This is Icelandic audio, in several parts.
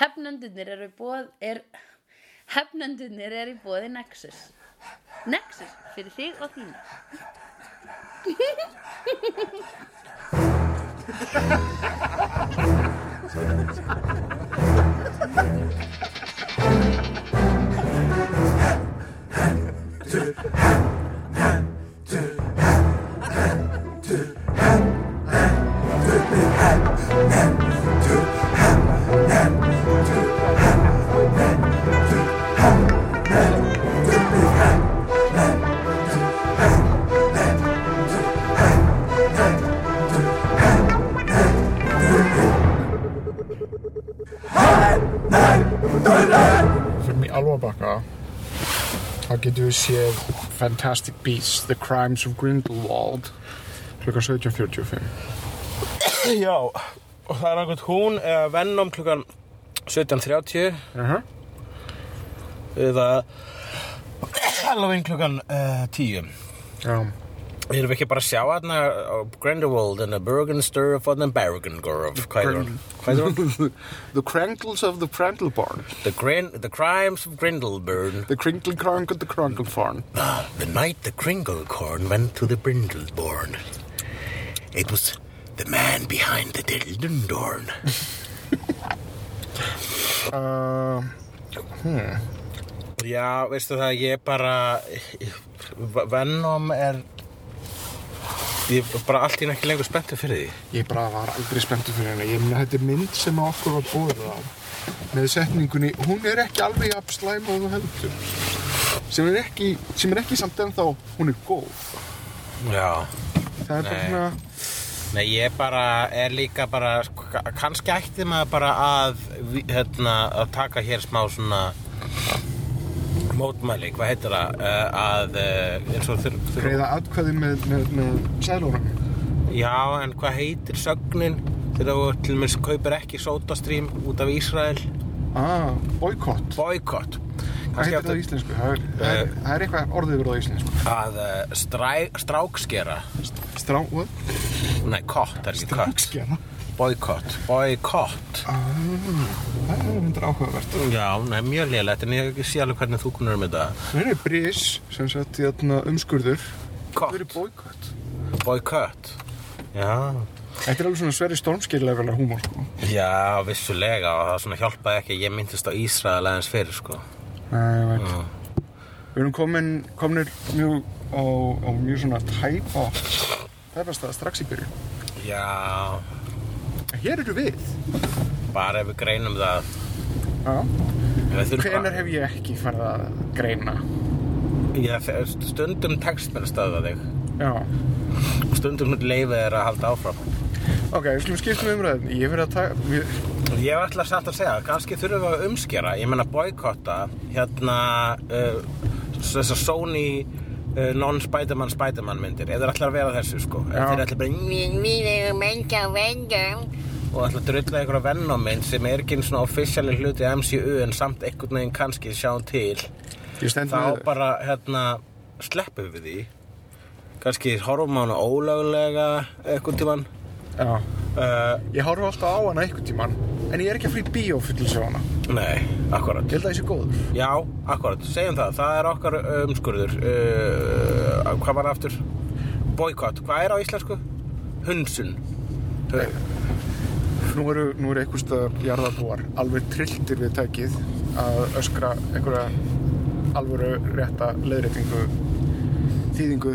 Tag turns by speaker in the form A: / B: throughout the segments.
A: Hefnendurnir eru bóð er, Hefnendurnir eru í bóði Nexus Nexus fyrir þig og þína
B: Fyrir í Alvabakka þá getum við séð Fantastic Beasts, The Crimes of Grindelwald klukkan 17.45
C: Já, og það er einhvern hún eða Venom klukkan 17.30
B: Jaha.
C: eða Halloween klukkan uh, 10
B: Já,
C: Erum við ekki bara að sjá hérna á Grindelwald and a Bergenster of and Bergengorf Hvað er hún? Hvað er hún?
B: The Crangles of the Prangle Barn
C: The, Grin the Crimes of Grindelburn
B: The Kringle Crangle the Crangle Farn
C: The night the Kringlecorn went to the Brindleborn It was the man behind the Dildendorn
B: uh, hmm.
C: Já, veistu það, ég bara Venom er Ég er bara allt í enn ekki lengur spenntu fyrir því
B: Ég bara var aldrei spenntur fyrir henni Ég meina þetta er mynd sem okkur var búið á með setningunni, hún er ekki alveg jafn slæm og þú heldur sem er ekki, sem er ekki samt ennþá hún er góð
C: Já
B: það er bara
C: Nei.
B: svona
C: Nei, ég bara er líka bara sko, ka- kannski ætti maður bara að vi- hérna, að taka hér smá svona mótmæli, hvað heitir það uh, að uh, eins og þur, þur,
B: greiða atkvæði með, með, með sælunum
C: já, en hvað heitir sögnin þegar þú til mér kaupir ekki sótastrím út af Ísrael
B: Ah, boykott.
C: boykott
B: Hvað Eh. heitir það á íslensku? Það er, það er, það er eitthvað orðið verið á íslensku.
C: að uh, stræ, strákskera
B: Strá...
C: nei, kott, það er ekki kott
B: Skjana.
C: boykott, boykott
B: Það er hundur áhugavert.
C: já, nei, mjög lélegt en ég sé alveg hvernig þú kunnur um þetta
B: Það er bris, sem sagt, hérna, umskurður. Það
C: kott
B: eru boykott.
C: Boycott Já
B: Þetta er alveg svona sverri stormskirlegalega húmor, sko.
C: Já, vissulega og það svona hjálpaði ekki Ég myndist á Ísrael aðeins fyrir sko
B: Nei, ég veit. Við erum komin, kominir mjög á, á mjög svona tæpa, tæpastað strax í byrju.
C: Já,
B: En Hér eru við.
C: bara ef við greinum það
B: Já.
C: Við þurfum
B: Hvenar
C: bara-
B: hef ég ekki farið að greina?
C: Já, þe- stundum tekst mér að stöða þig
B: Já.
C: og Stundum leifið þér að halda áfram
B: Ok, við slum skiptum umræðin. Ég hef verið að taka... Við...
C: Ég ætla samt að segja, kannski þurfum við að umskera Ég meina boykotta Hérna uh, Þessar Sony uh, non-Spiderman Spiderman myndir Ef þeir ætla að vera þessu sko Ef
B: Já.
C: þeir ætla bara "Mí- mí- mí- menga, menga Og ætla að drulla einhverja Venom mynd Sem er ekki einu svona officiali hluti MCU En samt einhvern veginn kannski sjáum til
B: Ég stend
C: Þá
B: með-
C: bara hérna Sleppum við því Kannski horfum á hana ólöglega Eitthvað tímann
B: Já.
C: uh,
B: Ég horfa alltaf á hana einhvern tíman En ég er ekki að fara í bíó fyrir til að sjá hana
C: Nei, akkurat
B: Ég held að ég sé góður
C: Já, akkurat, segjum það, það er okkar umskurður uh, Hvað var það aftur? Boykott, hvað er á íslensku? Hunsun Nei.
B: Nú eru, nú eru einhvers staðar jarðarbúar Alveg trilltir við tækið Að öskra einhverja Alvöru rétta leiðréttingu Þýðingu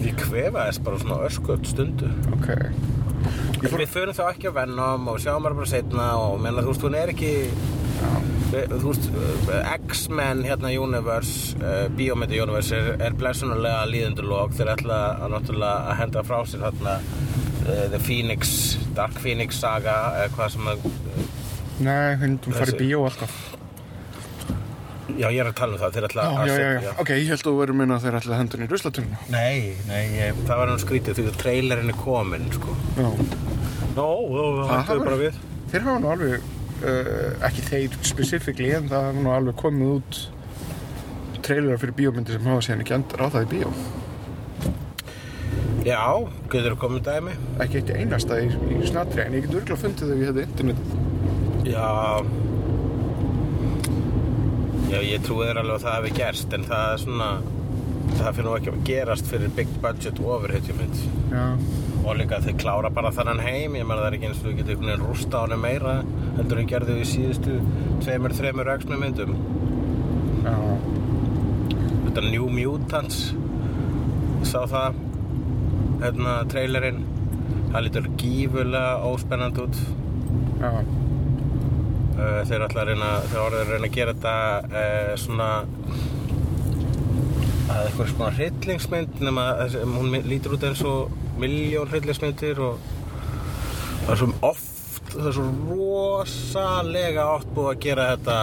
C: Ég kvefa þess bara svona öskut stundu
B: Ok fór-
C: Við förum þá ekki á Venom og sjáum bara bara setna og menna þú veist, hún er ekki Við- Þú veist, eh, X-Men hérna Universe, uh, Biometer Universe er, er blessunulega líðundurlók þeir ætla að náttúrulega að henda frá sér þarna uh, The Phoenix, Dark Phoenix saga uh, hvað sem að
B: Nei, hundum fara í
C: Þessi-
B: bíó alltaf
C: Já, ég er að tala um það, þeir ætla
B: Já,
C: að
B: já, já,
C: setja-
B: já Ok, ég held að þú verður minna að þeir ætla að hendur í ruslatunna
C: Nei, nei, ég, það var hann skrítið því að trailerinn er komin, sko.
B: Já
C: Nó, það
B: Það
C: hættu
B: hafa-
C: bara við.
B: Þeir hafa nú alveg uh, Ekki þeir specifíkli En það hafa nú alveg komið út Trailerar fyrir bíómyndir sem hafa síðan ekki endur á það í bíó
C: Já, getur þú komið dæmi?
B: ekki eitt einasta í, í snatri en ég get örgulega fundið þau í þetta hérna internetið
C: Já Já, ég trúi þér alveg að það hefði gerst en það er svona það fyrir nú ekki að gerast fyrir big budget ofurhetjumynd
B: Já.
C: og líka þau klára bara þannan heim ég meina það er ekki eins og þú getur einhvern veginn rústa honum meira heldur en gerðu í síðustu tveimur, þreimur öxnum myndum
B: Já.
C: þetta New Mutants sá það hérna trailerinn það lítur gífulega óspennandi út
B: Já.
C: Uh, þeir ætla að reyna, þeir voru að reyna að gera þetta uh, svona að eitthvað svona hryllingsmynd nema að þessi- hún mi- lítur út eins og miljón hryllingsmyndir og það er svo oft það er svo rosalega oft búið að gera þetta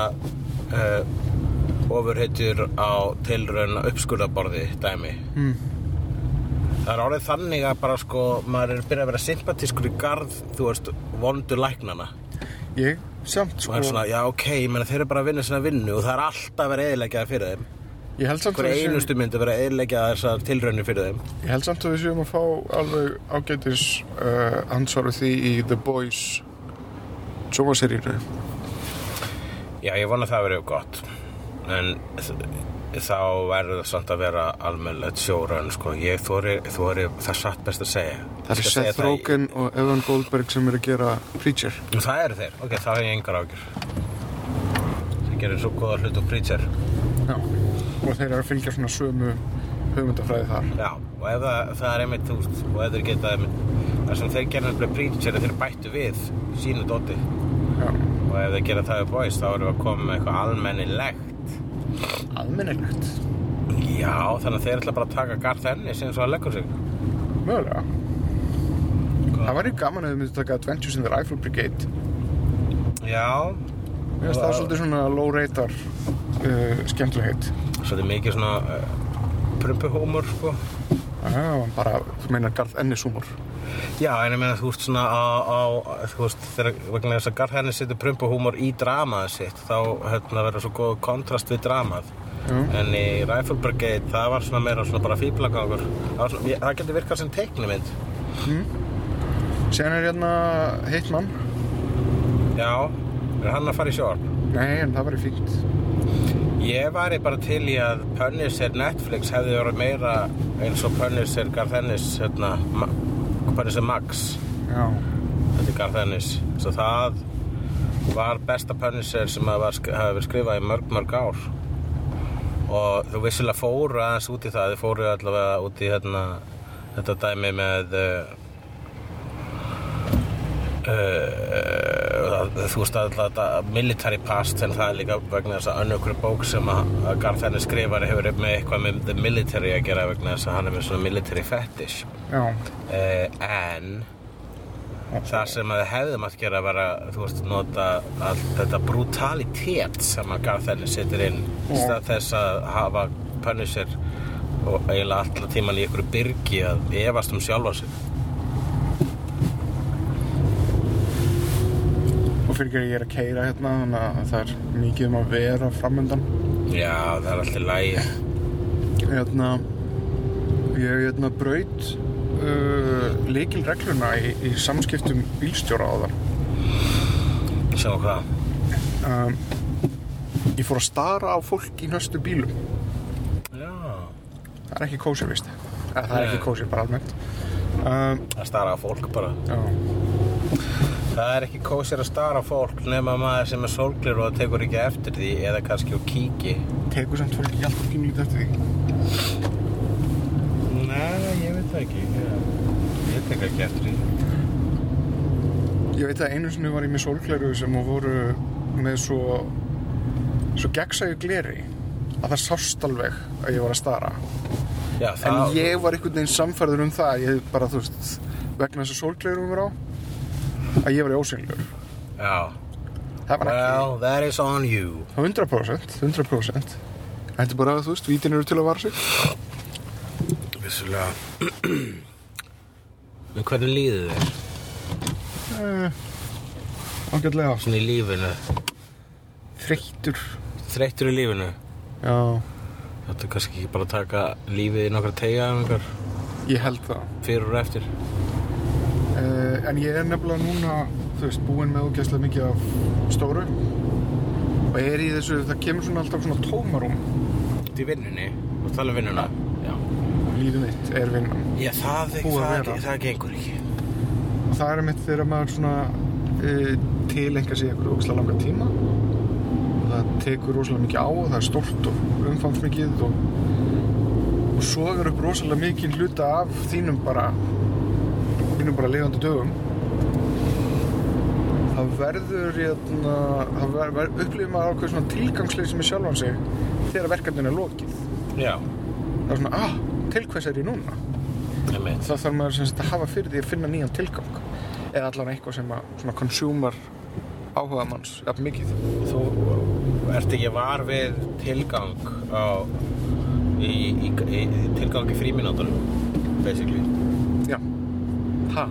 C: uh, ofurhetjur á tilraun uppskurðaborði dæmi
B: Mm.
C: það er orðið þannig að bara sko maður er byrjað að vera sympatískur í garð þú veist vondu læknana
B: Ég samt
C: og það
B: sko,
C: er svona, já ok, ég meina, þeir eru bara að vinna sinna vinnu og það er alltaf að vera eðilegjaðar fyrir þeim
B: ég held samt að
C: hver
B: við séum-
C: einustu myndi að vera eðilegjaðar þessar tilraunir fyrir þeim
B: Ég held samt að við séum að fá alveg ágætis uh, ansvar við því í The Boys sjómaserínu.
C: já, ég vona að það verið gott en þ- þá verður það samt að vera almennilegt sjóraun sko. ég þóri, þóri, það er satt best að segja
B: Það
C: Ég
B: er
C: skal segja
B: Seth
C: það í-
B: Rogen og Evan Goldberg sem eru að gera Preacher.
C: Nú, það eru þeir, ok, það er ég engar ágjur það gerir svo góða hlut og preacher
B: Já. Og þeir eru að fylgja svona sömu hugmyndafræði þar.
C: Já, og ef það, það er einmitt þú veist, og ef þeir geta einmitt, það sem þeir gerir nefnilega preacher er þeir bættu við sínu dóti
B: Já.
C: og ef þeir gera það við boys þá erum við að koma með eitthvað almennilegt
B: Aðmennilegt.
C: já þannig að þeir ætla bara að taka Garth Ennis eins og að leggur sig
B: Mögulega. Það væri gaman að við myndum taka Adventures in the Rifle Brigade.
C: já
B: Mér finnst það svolítið svona low radar uh, skemmtilegheit.
C: svolítið mikið svona uh, prumpuhúmur sko
B: Já, bara, þú meinar Garth Ennis humor.
C: já en ég meina þú veist svona á, á þú veist þegar vegna þess að Garth Ennis setur prumpuhúmur í dramaði sitt þá hérna verður svo góð kontrast við dramað
B: Já.
C: en í Rifle Brigade það var svona meira svona bara fýblagangur það, var svona- ég- það getur virkað sem teiknumynd
B: Sen er hérna Hitman.
C: já er hann að fara í sjórn
B: Nei, en það væri fínt.
C: Ég væri bara til í að Punisher Netflix hefði verið meira eins og Punisher Garth Ennis hérna, Ma- Punisher Max
B: Já.
C: þetta er Garth Ennis svo það var besta Punisher sem að var sk- hafi verið skrifað í mörg mörg ár og þú vissilega fóru aðeins út í það þið fóru allavega út í hérna, þetta dæmi með uh, uh, eh, þú veist alltaf þetta military past en það er líka vegna þess að önnur bók sem að að Garth Ennis skrifari hefur með eitthvað með the military að gera vegna þess að hann er með svona military fetish
B: Já.
C: uh, en það sem að þið hefðum að gera var að þú veist nota allt þetta brutalitet sem að Garth Ennis setur inn í stað þess að hafa Punisher og eiginlega alltaf tíman í ykkur byrgi að efast um sjálfa sig
B: Og fyrir ekki að ég er að keira hérna, þannig að það er mikið um að vera framöndan.
C: já það er alltaf lægi
B: Hérna, ég hef hérna braut uh, leikilregluna í, í samskiptum bílstjóra á það.
C: sem hvað
B: Um, ég fór að stara á fólk í höstu bílum.
C: já
B: Það er ekki kósir, veist. Eða, það er
C: Nei.
B: ekki kósir, bara almennt. Um,
C: að stara á fólk bara
B: já.
C: það er ekki kósir að stara á fólk nema maður sem er sorglir og tekur ekki eftir því eða kannski og kíki
B: Tekur samt fólk ekki alltaf kynlítið eftir því.
C: nei, ég veit það ekki ég, ég tek ekki eftir því
B: Ég veit að einu sinni var ég með sólgleru sem að voru með svo, svo gegnsæju gleri að það sást alveg að ég var að stara.
C: já,
B: En
C: það,
B: ég var einhvern veginn samfærður um það Ég bara, þú veist, vegna þess að sólgleirum var á Að ég var í ósynlur
C: já
B: Það var ekki,
C: well, that is on you
B: það var 100% 100% Þetta er bara, þú veist, vítin eru til að vara sig
C: vissulega en hvernig líður þér
B: Eh, Ágætlega
C: svona í lífinu
B: Þreyttur
C: þreyttur í lífinu
B: Já,
C: þetta er kannski ekki bara að taka lífið í nokkra teiga um einhver
B: ég held það Eh,
C: fyrir og eftir
B: uh, En ég er nefnilega núna, þú veist, búinn með ógæslega mikið af stóru og er í þessu, það kemur svona alltaf svona tómarúm
C: Út í vinnunni, þú tala um vinnuna Já,
B: lífið mitt er vinnan
C: Já það,
B: Búið að
C: það,
B: vera.
C: það, það gengur ekki
B: og það er mitt þegar maður svona uh, tilengja sig ykkur ógislega langa tíma og það tekur rosalega mikið á og það er stórt og umfangsmikið og, og sogar upp rosalega mikið hluta af þínum bara þínum bara lifandi dögum það verður jæna, það ver, ver, upplifir maður ákveð svona tilgangsleysi með sjálfan sig þegar verkefninu er lokið
C: Já,
B: það er svona, ah, til hvers er ég núna
C: einmitt
B: þá þarf maður sem sagt að hafa fyrir því að finna nýjan tilgang eða allan eitthvað sem að svona consumer áhuga manns jafn mikið
C: Þú ert ekki var við tilgang á í, í, í tilgang í fríminútunum basically
B: já, ha,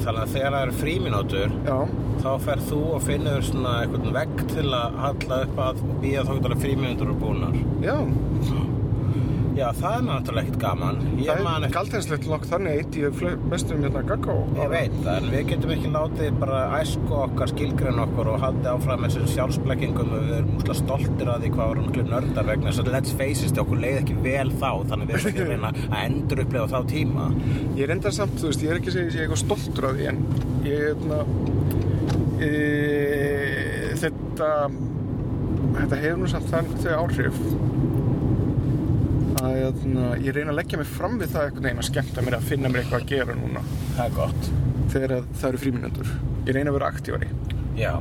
C: Þannig að þegar það eru fríminútur
B: já,
C: þá ferð þú og finnur svona einhvern vegg til að halla upp að og býða þá getur fríminútur og búnar
B: já
C: Já, það er náttúrulega ekkert gaman Ég
B: það
C: man
B: er
C: ekki
B: galdenslegt lokk þannig eitt í fle- mestum hérna gaggá
C: Ég veit það, en við getum ekki látið bara æsku okkar, skilgrein okkur og haldið áfram með þessum sjálfsblekkingum og við erum úslega stoltir að því hvað vorum miklu nördar vegna þess að let's face it, okkur leið ekki vel þá þannig við erum ekki að reyna að endur upplega þá tíma
B: ég er enda samt, þú veist, ég er ekki að segja að ég sé eitthvað stoltur af því en ég hérna, er þarna e, þetta þetta hefur nú samt þannig þau áhrif að jæna, ég reyna að leggja mig fram við það einhvern veginn að skemmta mér að finna mér eitthvað að gera núna
C: Það er gott
B: þegar að það eru fríminundur ég reyna að vera aktívari
C: Já,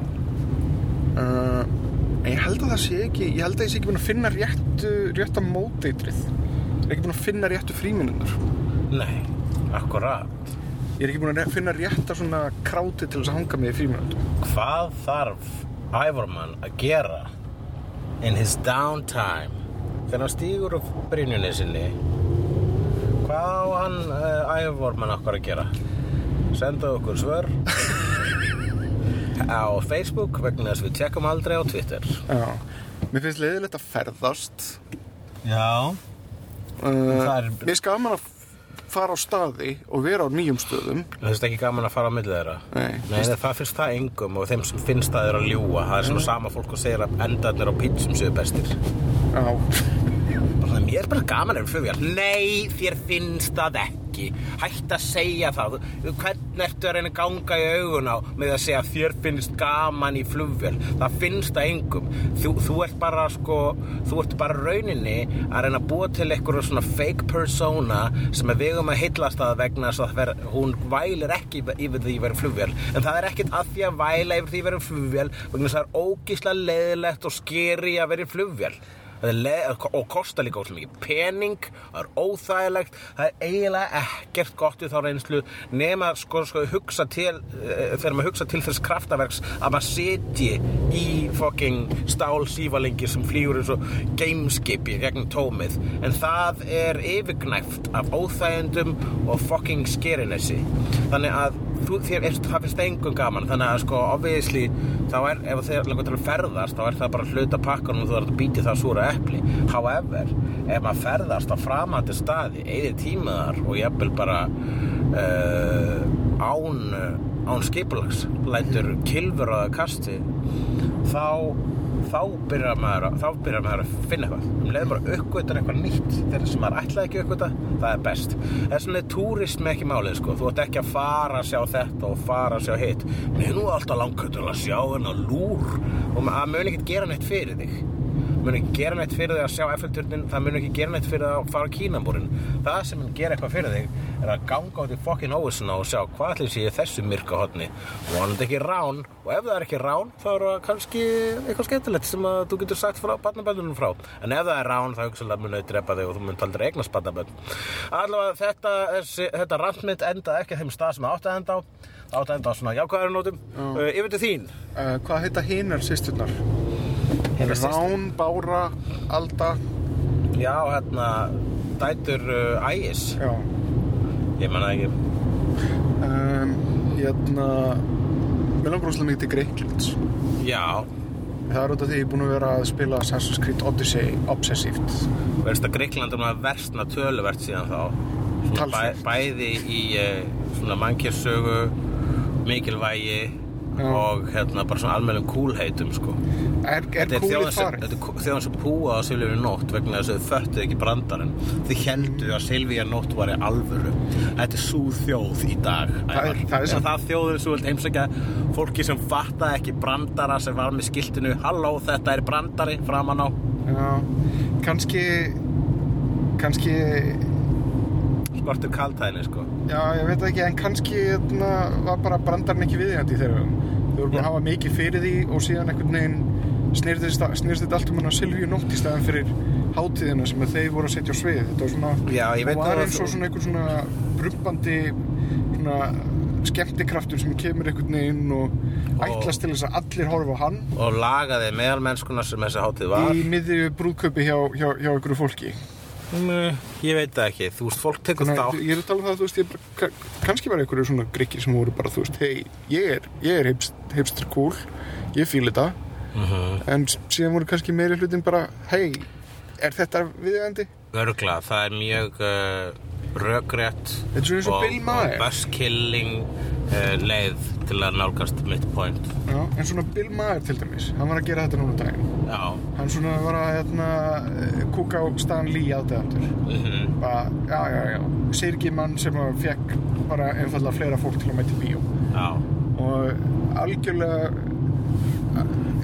B: uh, en ég held að það sé ekki ég held að ég sé ekki búin að finna réttu rétta móteitrið ég er ekki búin að finna réttu fríminundur
C: nei, akkurat
B: ég er ekki búin að re- finna rétta svona kráti til þess að hanga mig í fríminundum
C: Hvað þarf Ævormann að gera in his downtime þegar hann stígur úr brynjunni sinni hvað á hann uh, Ævormann okkar að gera senda okkur svör á Facebook vegna þess við tekum aldrei á Twitter
B: já mér finnst leiðilegt að ferðast
C: Já
B: uh,
C: það er-
B: mér finnst gaman að fara á staði og vera á nýjum stöðum
C: Það finnst ekki gaman að fara á milli þeirra
B: Nei.
C: Nei það, það finnst það engum og þeim sem finnst það er að ljúga Það er svona sama fólk og segir að endarnir á pítsum séu bestir
B: já,
C: Bara, mér er bara gaman ef flugvél. Nei, þér finnst það ekki. Hætt að segja það. Þú- Hvernig ertu að reyna að ganga í augun á með að segja þér finnst gaman í flugvél. Það finnst það engum. Þú, þú ert bara sko, þú ert bara rauninni að reyna að búa til einhverju svona fake persona sem að við um að hillast að vegna þess að það ver, hún vælir ekki yfir- yfir því að vera flugvél. En það er ekkert að því að væla yfir því að vera flugvél vegna þess að það er ógíslega leiðilegt og skeri að vera í flugvél. Það er leið, og kostar líka óslega mikið pening, það er óþægilegt, það er eiginlega ekkert gott í þá reynslu nema sko, sko hugsa til, uh, þegar maður hugsa til þess kraftaverks að maður setji í fucking stál sívalengi sem flýur eins og gameskip í gegn tómið en það er yfirgnæft af óþægendum og fucking skerinesi þannig að þú, þér er, það finnst engum gaman þannig að sko obviously þá er ef þeir langar til að ferðast þá er það bara hluta pakkanum og þú þarf að býti það súra epli however, ef maður ferðast á framandi staði, eigði tímaðar og jafnvel bara uh, án eh, án skipulags, lætur kilfur á það kasti þá þá byrjar maður, að- þá byrjar maður að finna eitthvað um leiðum bara uppgötar eitthvað nýtt þegar sem maður ætlaði ekki að uppgöta, það er best þess vegna er túrism ekki málið sko þú ert ekki að fara að sjá þetta og fara að sjá hitt mér er nú alltaf langar til að sjá hennar lúr og ma- það mun ekkert gera neitt fyrir þig mun ekki gera neitt fyrir þig að sjá Eiffelturnin það mun ekki gera neitt fyrir þig að fara á Kínamborin það sem mun gera eitthvað fyrir þig er að ganga út í fokkin óvissuna og sjá hvað allir sé í þessu myrka hotni vonandi ekki rán og ef það er ekki rán þá er það kannski eitthvað skemmtilegt sem að þú getur sagt frá barnaböndunum frá en ef það er rán þá hugsalega mun þau drepa þig og þú mun aldrei eignast barnabönd allavega þetta, þessi, þetta rantmynd endaði ekki á þeim stað sem það átti að enda á Það átti að enda á svona jákvæðarunótum uh, yfir til þín
B: uh, hvað heita hinar sýsturnar?
C: Hinar systurnar?
B: Rán, Bára, Alda
C: já hérna dætur uh, ægis
B: já
C: Ég manna ekki
B: um, Hérna Mér langar rosalega mikið til Greiklands
C: Já,
B: Það er út af því ég er búin að vera að spila Assassin's Creed Odyssey obsessíft
C: verðist að Greikland er maður versna töluvert síðan þá Svona
B: Talsvert.
C: Bæði í eh, svona mannkjörsögu, mikilvægi,
B: Já.
C: og hérna bara svona almennum kúlheitum sko.
B: Er, er
C: Þetta er
B: kúlið
C: þjóðan sem-
B: farið?
C: þetta er kú- þjóðan sem púa á Silvíu nótt vegna þess að þau föttuðu ekki brandarinn þau heldu að Silvíu nótt var í alvöru þetta er sú þjóð í dag
B: Það er-
C: Ævar.
B: það er
C: Eða
B: samt-
C: það þjóðin svo vilt heimsækja fólki sem fattaði ekki brandara sem var með skiltinu halló þetta er brandari framan á
B: Já, kannski, kannski,
C: skortur kaltæðinni sko
B: já, ég veit það ekki, en kannski hérna, var bara brandarinn ekki viðjandi þegar þau voru búin
C: Já.
B: að hafa mikið fyrir því og síðan einhvern veginn snýrðist snýrðist þetta allt um hann að Silvíu nótt í staðan fyrir hátíðina sem að þeir voru að setja á svið. Þetta var svona,
C: Já, ég veit
B: hún
C: það
B: var
C: að-
B: eins og svona einhvern svona brumbandi, svona skemmtikraftur sem kemur einhvern veginn og ætlast til þess að allir horfa á hann
C: og lagaði meðalmennskuna sem þessi hátíð var
B: í miðju brúðkaupi hjá, hjá, hjá einhverju fólki
C: Mm, ég veit það ekki, þú veist fólk tekur
B: Þannig,
C: þátt
B: að ég er að tala um það, þú veist, ég bara, ka- kannski var einhverju svona grikkir sem voru bara, þú veist, hei, ég er, ég er hipst, hipster cool, ég fíl þetta, en s- síðan voru kannski meiri hlutin bara, hei, er þetta viðjandi?
C: Örgla, það er mjög uh, rökrétt
B: Þetta er svona eins og Bill Maher.
C: buskilling uh, leið til að nálgast midpoint
B: Já, en svona Bill Maher til dæmis, hann var að gera þetta núna um daginn.
C: Já,
B: Hann svona var að, hérna, eh, kúka á staðan Lee aðdegandur.
C: mhm,
B: Bara, já, já, já, sirgi mann sem að fekk bara einfallega fleira fólk til að mæta í bíó.
C: já
B: og algjörlega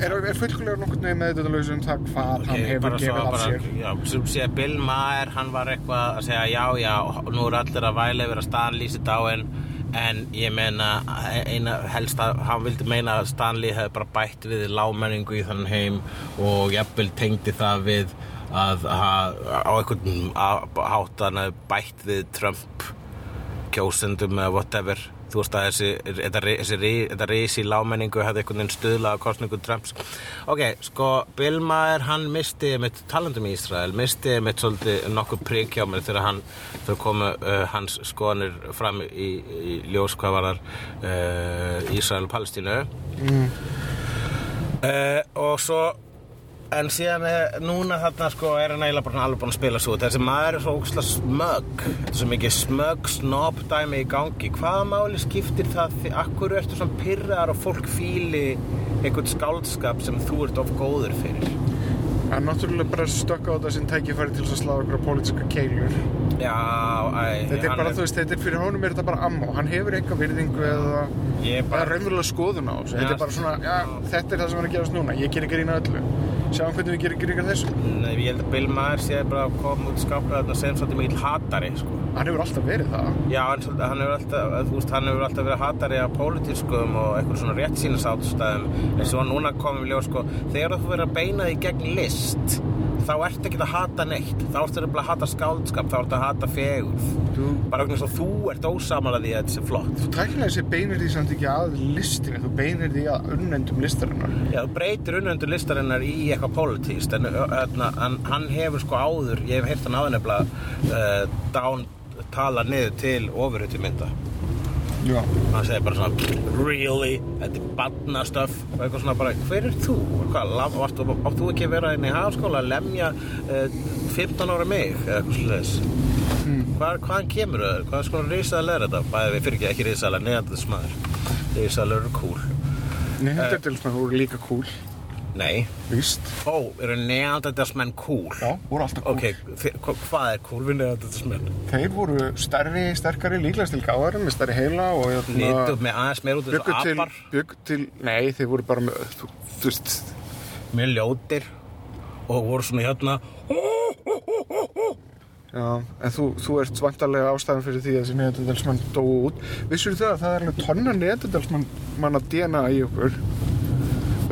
B: er, er fullkulega nokkurnu með þetta lausum það hvað
C: Ok,
B: hann hefur
C: bara svo
B: gefið af
C: bara-
B: sér
C: Já, sem sé að Bill Maher, hann var eitthvað að segja já, já, nú eru allir að væla yfir að Stanley sé dáinn en ég meina, eina helst að hann vildi meina að Stanley hefði bara bætt við lámenningu í þann heim og jafnvel tengdi það við að, að á einhvern hátt hann hefði bætt við Trump kjósendum eða whatever þú veist að þessi, þetta, ri- þessi, ri- þetta risi lámenningu hefði einhvern veginn stuðlað á kostningu Trumps ok, sko Bill Maher hann misti mitt talandum í Ísrael misti mitt svolítið nokkuð prik hjá mér þegar hann þegar komu uh, hans skoðanir fram í, í ljós hvað var þar uh, Ísrael og Palestínu uh, og svo En síðan er, núna þarna sko er hann eiginlega bara alveg búinn að spila svo út. Þessi maður er svo ógslag smögg. Þetta er svo mikið smögg snobb dæmi í gangi. Hvaða máli skiptir það því akkur ertu svona pyrraðar og fólk fíli einhvern skáldskap sem þú ert of góður fyrir?
B: hann er náttúrulega bara stökka á þetta sem tækifæri til þess að slá okkur á pólitíska keilur
C: Já, æ,
B: þetta er
C: hann
B: bara, þú veist, þetta er fyrir honum er þetta bara ammo hann hefur eitthvað virðingu eða
C: Ég er
B: eða
C: bara-
B: raunverulega skoðun á þessu þetta
C: Já.
B: er bara svona, já, þetta er það sem er að gerast núna ég gerir grína öllu sjáum hvernig við gerir grína þessu
C: Nei, ég held að Bill Maher sé bara að koma út skáplega þarna sem svolítið mikill hatari, sko.
B: hann hefur alltaf verið það
C: Já, en svolítið, hann hefur alltaf, eh, þú veist, hann hefur alltaf verið hatari af pólitískum og eitthvað svona réttsýnasáttstæðum en svo núna komum við ljós, sko, þegar þú verður að beina því gegn list þá ertu ekki að hata neitt, þá ertu nefnilega að hata skáldskap, þá ertu að hata fegurð
B: þú
C: bara vegna þess að þú ert ósamála því að þetta sé flott
B: tæknilega sér beinir því samt ekki að listinni þú beinir því að unnendum listarinnar
C: Já, þú breytir unnöndur listarinnar í eitthvað pólitíst en, en, en hann hefur sko áður, ég hef heyrt hann áður nefnilega uh, dán tala niður til ofurhutumynda
B: já
C: hann segir bara svona really, þetta er badna stöf og eitthvað svona bara, hver er þú? Og Hvað, laf, varst, átt þú ekki að vera inn í hafskóla að lemja uh, 15 ára mig eða eitthvað sliðis
B: Hmm.
C: Hvar, hvaðan kemur þau? Hvaðan skoðan risaðal er þetta? Bæði við fyrir ekki ekki risaðal að neðan þess maður risaðal eru cool
B: Neanderdalsmenn voru líka cool,
C: nei,
B: víst.
C: ó, eru neandertalsmenn cool?
B: Já, voru alltaf cool.
C: ok, þi- hva- hvað er cool við neandertalsmenn?
B: Þeir voru stærri, sterkari, líklegast til gáðarum, með stærri heila og
C: litum með aðeins meir út
B: byggu
C: þessu
B: til,
C: apar
B: byggu til, nei, þeir voru bara með, þú, þú veist,
C: mjög ljótir og voru svona hérna
B: já, en þú, þú ert vantarlega ástæðan fyrir því að þessi neanderdalsmenn dóu út. Vissur það að það er alveg tonna neanderdalsmann manna DNA í okkur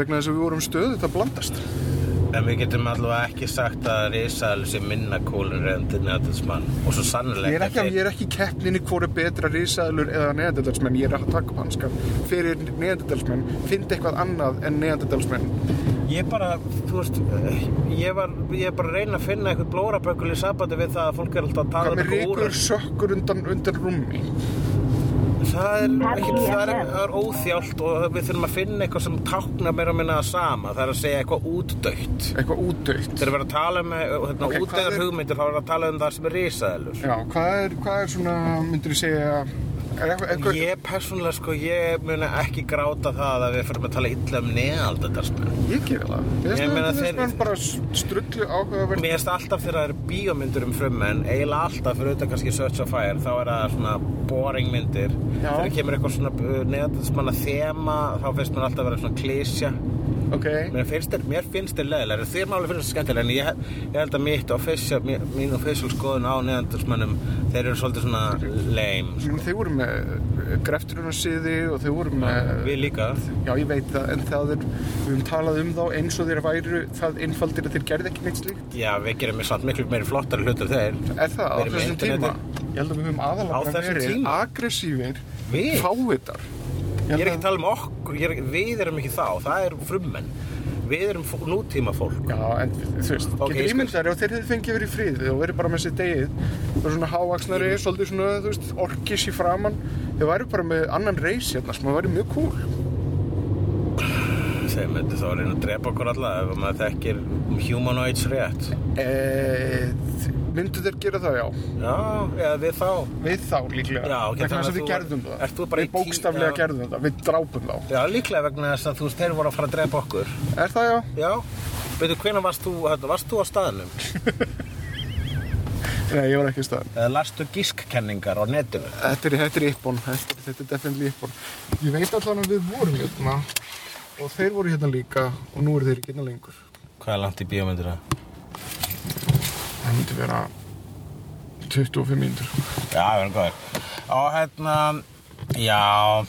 B: vegna þess að við vorum stöðut að blandast.
C: En við getum allavega ekki sagt að risaðal sé minna kúlun reyndi neðatilsmann og svo
B: Ég er
C: sannlega
B: ekki, ég er ekki í keppninni hvort er betra risaðlur eða neanderdalsmenn, ég er að taka upp hanskan fyrir neanderdalsmenn, fyndi eitthvað annað en neanderdalsmenn.
C: Ég bara, þú veist, eh, ég var, ég er bara að reyna að finna eitthvað blórabökul í sabandi við það að fólk er alltaf að
B: Hvað
C: tala um
B: með
C: eitthvað úr
B: ríkur sökkur undan, undan rúmi?
C: Það er, ekki,
D: Happy
C: það, er,
D: FM.
C: það er óþjált og við þurfum að finna eitthvað sem táknar meira að minna það sama Það er að segja eitthvað útdögt
B: Eitthvað útdautt.
C: Þeir eru verið að tala um eh, hérna,
B: Ok,
C: okay,
B: hvað
C: útdöðar
B: er-
C: hugmyndir þá er að tala um það sem er risaðalur
B: Já, hvað er, hvað er svona, myndur ég segja, Er eitthvað, eitthvað,
C: Ég persónulega sko, ég muni ekki gráta það að við fyrir að tala illa um neðaldadarsmenn.
B: ég gera það. Ég,
C: Ég
B: ég
C: meina,
B: meina þeir...
C: þeir-
B: Það er bara strullu áhugaverð.
C: Mér finnst alltaf þegar það eru bíómyndir um frummenn, eiginlega alltaf fyrir auðvitað kannski Search of Fire, þá er það svona boring myndir.
B: Já.
C: Þegar kemur eitthvað svona neðaldadarsmanna þema, þá finnst mér alltaf að vera svona klísja.
B: Ok.
C: Mér finnst þeir, mér finnst þeir leðilega, þeir máli finnst þeir skemmtilega, en ég, ég held að mitt official, mín- mín official skoðun á neðaldadarsmennum, þeir eru svolítið svona lame.
B: Ég meina, Þeir voru með grefturunarsýði og þeir voru með...
C: Við líka.
B: Já, ég veit það, en það er, við höfum talað um þá eins og þeir væru það einfaldir að þeir gerði ekki neitt slíkt.
C: Já, við gerum mér samt miklu meiri flottari hlutur þeir.
B: Er það á
C: Verið með
B: þessum tíma?
C: internetið.
B: Ég held að við höfum
C: Á
B: aðalega bara
C: þessum
B: verið
C: tíma?
B: agressífir,
C: Við?
B: fávitar.
C: Ég er ekki að tala um okkur, ég er, ekki- við erum ekki þá, það er frummenn. Við erum fó- nútíma fólk.
B: Já, en þú veist, okay,
C: Ok, ég
B: getur
C: skal-
B: ímyndar ef þeir hefðu fengið verið í frið og verið bara með sér degið og svona hávaksnari, svolítið svona, þú veist, orkis í framann þeir væri bara með annan reis hérna sem væri mjög cool
C: Sem þetta þá er einn að drepa okkur alla ef maður þekkir humanoids rétt.
B: e, myndu þeir gera það, já
C: Já, eða við þá.
B: við þá líklega,
C: Já, ok,
B: vegna
C: þannig
B: þess
C: að
B: að við
C: þú-
B: gerðum það
C: ert þú bara í
B: við
C: tí-
B: bókstaflega
C: já.
B: gerðum það, við drápum þá
C: Já, líklega vegna þess að þú veist, þeir voru að fara að drepa okkur.
B: er það, já?
C: Já. Veitu, hvenær varst þú, hérna, varst þú á staðnum?
B: Nei, ég var ekki í staðan
C: Eða lastu gískkenningar á netinu?
B: þetta er, þetta er yppon, þetta, er- þetta er definitely yppon ég veit allan að við vorum hérna og þeir voru hérna líka og nú eru þeir ekki hérna lengur
C: Hvað er langt í bíómyndir það?
B: það myndi vera 25 mínútur
C: Já, það verður góður. Og hérna, já,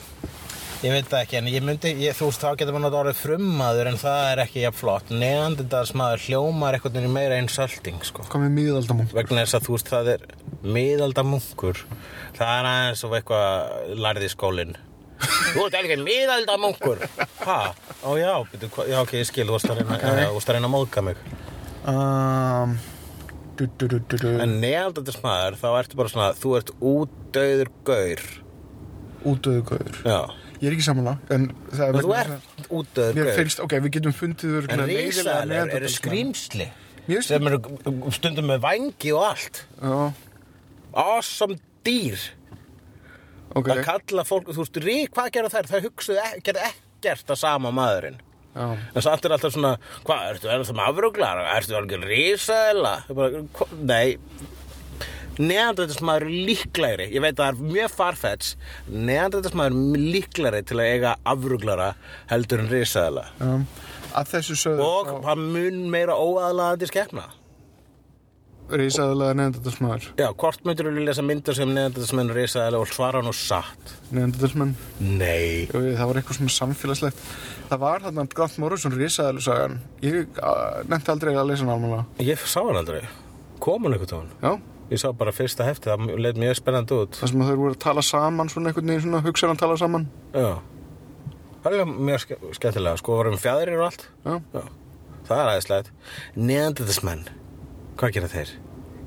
C: ég veit það ekki, en ég myndi, ég, þú veist, þá getur maður orðið frummaður, en það er ekki jafn flott. Neandertalsmaður hljómar eitthvað nýri meira einn salting, sko.
B: Hvað með miðaldamunk?
C: Vegna þess að þú veist, það er miðaldamunkur. Það er aðeins og eitthvað lærði í skólinn. Þú ert alveg miðaldamunkur. Ha? Ó já, byrju, hva- já, ok, ég skil, þú veist að reyna, okay. þú veist að reyna að móðka mig.
B: Um, du, du, du, du, du.
C: En neandertalsmaður, þá ertu bara svona, þú ert útdauður gaur.
B: Útöðu gauður.
C: Já.
B: Ég er ekki samanlega, en það er
C: Þú
B: vegna þess
C: ert útdöður
B: að- Mér finnst, ok, við getum fundið
C: En
B: örugglega leiðilega
C: risaðar eru
B: neanderdalsmenn.
C: skrýmsli
B: Mér finnst-
C: sem eru stundum með vangi og allt
B: Já,
C: awesome dýr
B: ok.
C: að kalla fólk, þú veist, rík, hvað gera þær? Það hugsuðu, e gerðu ekkert að sama maðurinn
B: Já.
C: en samt er alltaf svona hvað, ertu verður það með afruglar? Ertu algjör risaðela? Nei neandrættismæður líklegri ég veit að það er mjög farfets neandrættismæður líklegri til að eiga afruglara heldur en risaðela
B: Um, að þessu sögðu
C: og hann mun meira óaðlaðandi skepna
B: reysaðlega neandertalsmaður,
C: Já, hvort myndir þú lesa myndir sem neðandættismenn risaðilega og svara nú satt?
B: neandertalsmenn.
C: Nei.
B: Jú, Það var eitthvað svona samfélagslegt. Það var þarna Grant Morrison reysaðlega sagan. Ég uh, nefndi aldrei að lesa hann almanlega.
C: Ég sá hann aldrei. Kom hann einhvern tónu?
B: Já,
C: Ég sá bara fyrsta hefti, það leit mjög spennandi út.
B: það sem að þau voru að tala saman svona einhvern veginn svona hugsaðan tala saman.
C: Já. Það er líka mjög ske skemmtilega, sko, varum fjæðrir og allt.
B: Já.
C: Já. Það er aðeinslega. Neðandættismenn, hvað gera þeir?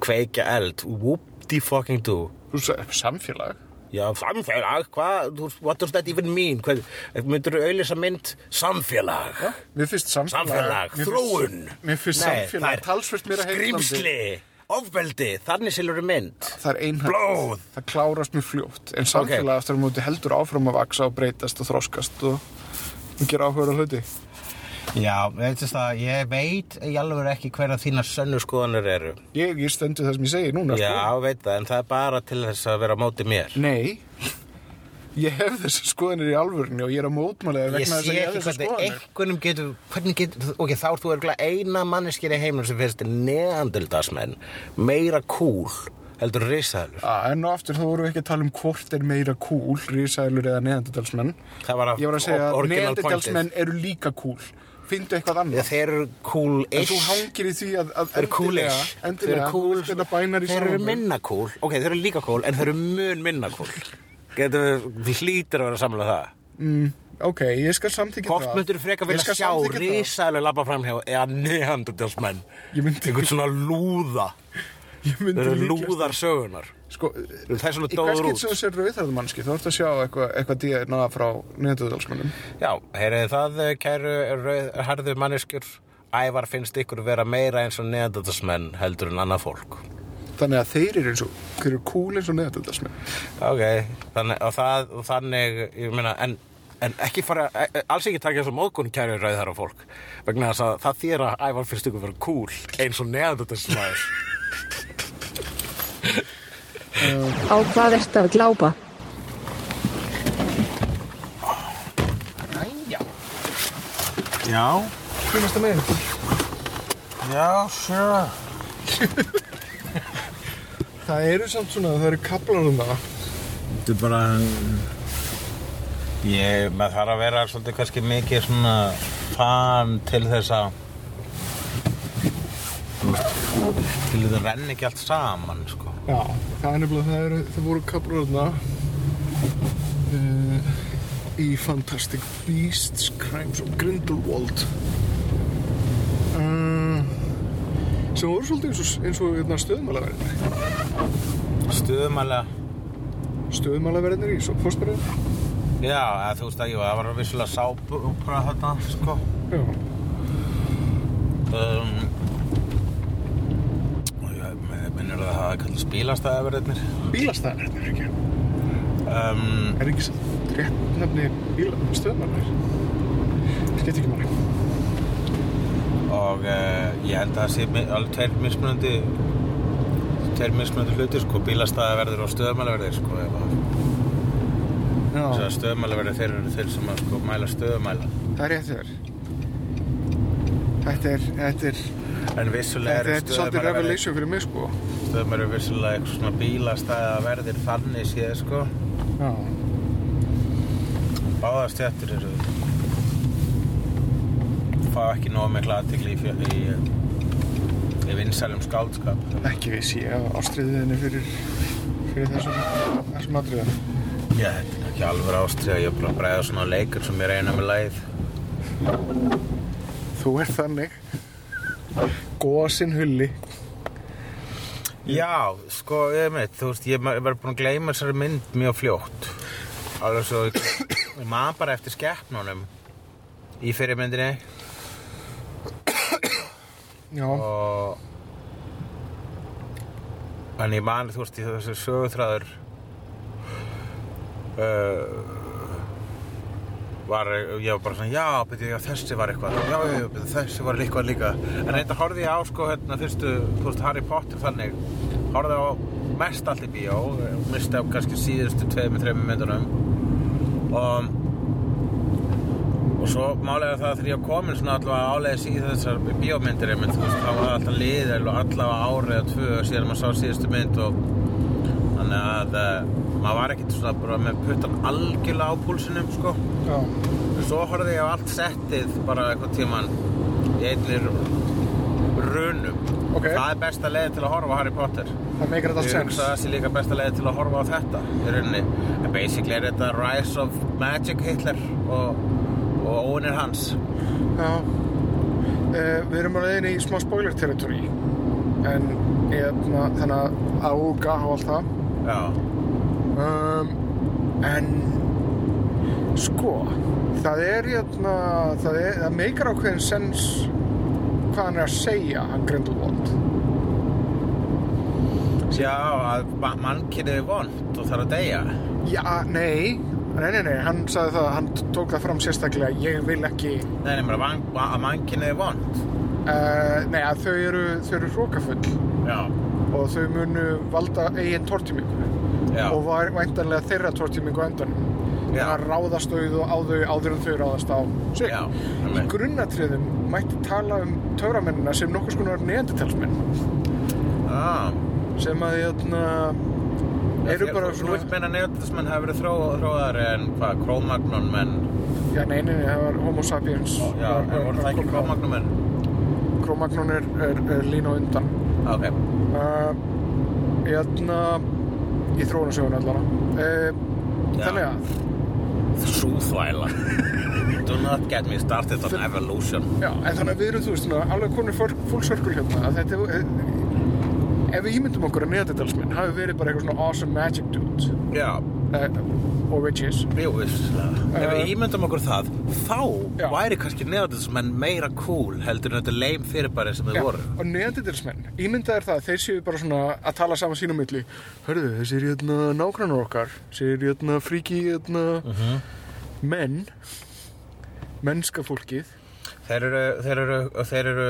C: Kveikja eld, whoop-de fucking do.
B: Þú sagði, samfélag?
C: Já, samfélag, hvað, þú- what does that even mean? Hvað, myndir þú auðlýsa mynd samfélag? Já.
B: Mér finnst samfélag,
C: samfélag,
B: mér finnst-
C: þróun
B: Mér finnst
C: Nei, það
B: samfélag
C: er
B: talsvert mér að
C: Skrýmsli, ofbeldi, þannig silur mynd
B: Það er einhægt
C: Blóð.
B: Það klárast mjög fljótt En samfélag
C: Ok.
B: aftur á móti heldur áfram að vaksa og breytast og þroskast og, og gera áhugur á hluti
C: Já, veitist það, ég veit í alveg ekki hverja þínar sönnu skoðanir eru
B: Ég, ég stendur það sem ég segi núna
C: Já, veit það, en það er bara til þess að vera á móti mér
B: sko. Nei Ég hef þessar skoðanir í alvörinu og ég er að mótmála þér
C: Ég
B: vegna þess
C: sé
B: að ég hef
C: ekki
B: þessar
C: hvernig
B: skoðanir
C: einhvernum getur, hvernig getur, ok, þá ert þú örgulega eina manneskir í heiminum sem finnst neandildasmenn, meira kúl, heldur risaðlur.
B: Ah, en á aftur þá vorum við ekki að tala um hvort er meira cool, rísælur eða neandardalsmenn.
C: Það var að,
B: Ég var að segja að
C: original pointið.
B: neandardalsmenn eru líka cool. Findu eitthvað annað.
C: Já, þeir eru
B: En þú
C: kúl-ish.
B: hangir í því að, að
C: Þeir eru kúlish Þeir
B: endilega hérna
C: eru kúl
B: þetta bænar í
C: Þeir eru minna kúl Ok, þeir eru líka kúl En þeir eru mun minna kúl Getum við hlýtir að vera að samla það
B: Ok, ég skal samþykja það
C: Hvort myndur frekar
B: Ég
C: vilja
B: skal
C: sjá
B: samþykkja það.
C: risaðlega labba framhjá eða nehandardjálsmenn
B: Ég myndi-
C: Einhvern svona lúða
B: Ég myndi
C: Þeir eru
B: líka-
C: lúðar sögunar
B: Sko,
C: Þeir eru
B: í
C: þess að
B: hvers
C: dóður
B: getur
C: út
B: sem þú sér rauðhæðumannski Þú ert að sjá eitthvað eitthva DNA frá neðandöðalsmannum
C: Já, heyrið það eh, kæru rauð- harðu manneskjur Ævar finnst ykkur vera meira eins og neandardalsmenn heldur en annað fólk
B: þannig að þeir eru eins og þeir eru cool eins og neðatöldasmenn
C: Ok, þannig, og, það, og þannig, ég meina, en, en ekki fara, e- e- alls ekki taka þessu móðgun kæru rauðar á fólk, vegna þess að það þýr að ævar fyrst ykkur vera cool, eins og neðandöldasmaður.
D: Á hvað ert að glápa?
B: Æja,
C: Já,
B: hvernig það með þetta?
C: já, sure.
B: Það eru samt svona, það eru kaplar um það
C: Þetta er bara, ég, maður þarf að vera svolítið kannski mikið svona fan til þess að, þú veist, til þetta renni ekki allt saman, sko.
B: Já, það er nefnilega, það, eru, það voru kaplar um það uh, í Fantastic Beasts, Crimes of Grindelwald uh, sem voru svolítið eins og, eins og hérna, stöðmálaverðinir
C: Stöðumælega.
B: stöðmálaverðinir í fórsparið
C: Já, eða, þú veist að jú, það var vissulega sápúra þarna, sko.
B: Já,
C: Um, og ég minnur að það hafa kallt spílastæðaverðirnir.
B: bílastæðarverðinir ekki
C: Um,
B: Er ekki samt rétt nefni bíla, stöðmálaverðinir Skeitt ekki máli
C: og uh, ég held að það sé mi- alveg tveir mismunandi, tveir mismunandi hlutir, sko, bílastæðaverðir og stöðumælaverðir, sko. ef að- Þess
B: Já,
C: að stöðumælaverðir þeir eru þeir sem að, sko, mæla stöðumæla.
B: það er rétt þér Þetta er, þetta er,
C: En vissulega
B: þetta er
C: eru
B: svolítið
C: stöðumælaverðir,
B: revelation fyrir mig sko
C: stöðumælaverðir vissulega eitthvað svona bílastæðaverðir þannig séð, sko.
B: Já,
C: Báðar stjættir eru fá ekki nóg mikla aðtikli í, fjö- í, eh, í vinsælum skáldskap
B: ekki vissi ég af ástriðinni fyrir, fyrir þessum, þessum atriðum
C: Já, þetta er nú ekki alveg ástriða ég er bara að bræða svona leikur sem ég reyna með læð
B: Þú ert þannig Gósin hulli
C: Já, sko, ég veit, þú veist ég er bara búin að gleyma þessari mynd mjög fljótt alveg svo ég maður bara eftir skepnunum í fyrirmyndinni
B: Já,
C: og en ég man þú veist í þessu sögutræður uh, var ég var bara svona já, beti, já þessi var eitthvað já, já, já, beti, þessi var eitthvað líka en þetta horfði ég á sko hérna fyrstu þú veist Harry Potter þannig horfði á mest allt í bíó misti á kannski síðustu tveimur, þreimur myndunum og Og svo málega það að þegar ég var komin svona allavega áleiðis í þessar bíómyndir einmitt, þú veist, þá var það alltaf liðið alveg allavega árið eða tvö síðan maður sá síðustu mynd og þannig að uh, maður var ekkert svona bara með puttan algjörlega á púlsinum, sko.
B: já,
C: En svo horfði ég á allt settið bara eitthvað tíman í einni runum.
B: Ok.
C: Það er besta leið til að horfa á Harry Potter.
B: það meikir þetta allt
C: Ég hugsa
B: sens
C: að það sé líka besta leið til að horfa á þetta í rauninni. En basically er þetta Rise of Magic Hitler og, og óunir hans.
B: Já uh, Við erum alveg inn í smá spoiler territory En ég, þannig að ága á allt það
C: Já,
B: um, En Sko Það er jæna Það, er, það meikar ákveðin sens Hvað hann er að segja Hann Grindelwald
C: já að ma- mannkynið er vond og þarf að deyja.
B: Já, nei Nei, nei, nei, hann sagði það Hann tók það fram sérstaklega Ég vil ekki
C: Nei, nema að, van- að mannkynið er vond.
B: uh, Nei, að þau eru Þau eru hrókafull
C: Já,
B: Og þau munu valda eigin tortímingu
C: já,
B: Og var væntanlega þeirra tortímingu á endanum
C: Já.
B: Það ráðast auð og á þau áður en þau ráðast á sig
C: já.
B: Í grunnatriðum mætti tala um töframennina sem nokkuð skonar neandertalsmenn
C: Ah,
B: sem að jötna, eru bara
C: Þú
B: svona
C: vilt meina nefndismenn hafi verið þró, þróðari en hvað, krómagnón menn?
B: já nei, nei, nei, það var homo sapiens
C: Já, en voru það ekki krómagnón menn?
B: kromagnon er, er, er lína á undan
C: Ok,
B: uh, jötna, hérna, í þróunasögun allavega uh,
C: Já.
B: þannig að
C: sú þvæla. Do not get me started on evolution.
B: já, en þannig að við erum þú veist svona, alveg konur fólksörkul hérna að þetta eh, er ef við ímyndum okkur að neandertalsmenn hafi verið bara eitthvað svona awesome magic dudes
C: Já,
B: Eh, og witches
C: Jú, visslega. Ef við ímyndum okkur það, þá
B: Eh. Já.
C: væri kannski neðaldismenn meira cool heldur en þetta leim fyrirbæri sem þau
B: Já,
C: voru.
B: og neandertalsmenn, ímyndað er það að þeir séu bara svona að tala saman sínum milli hörðu, þessi er jötna nágrannar okkar þessi er jötna fríki jötna hérna
C: Mhm.
B: menn mennska fólkið
C: Þeir eru, þeir eru, þeir eru,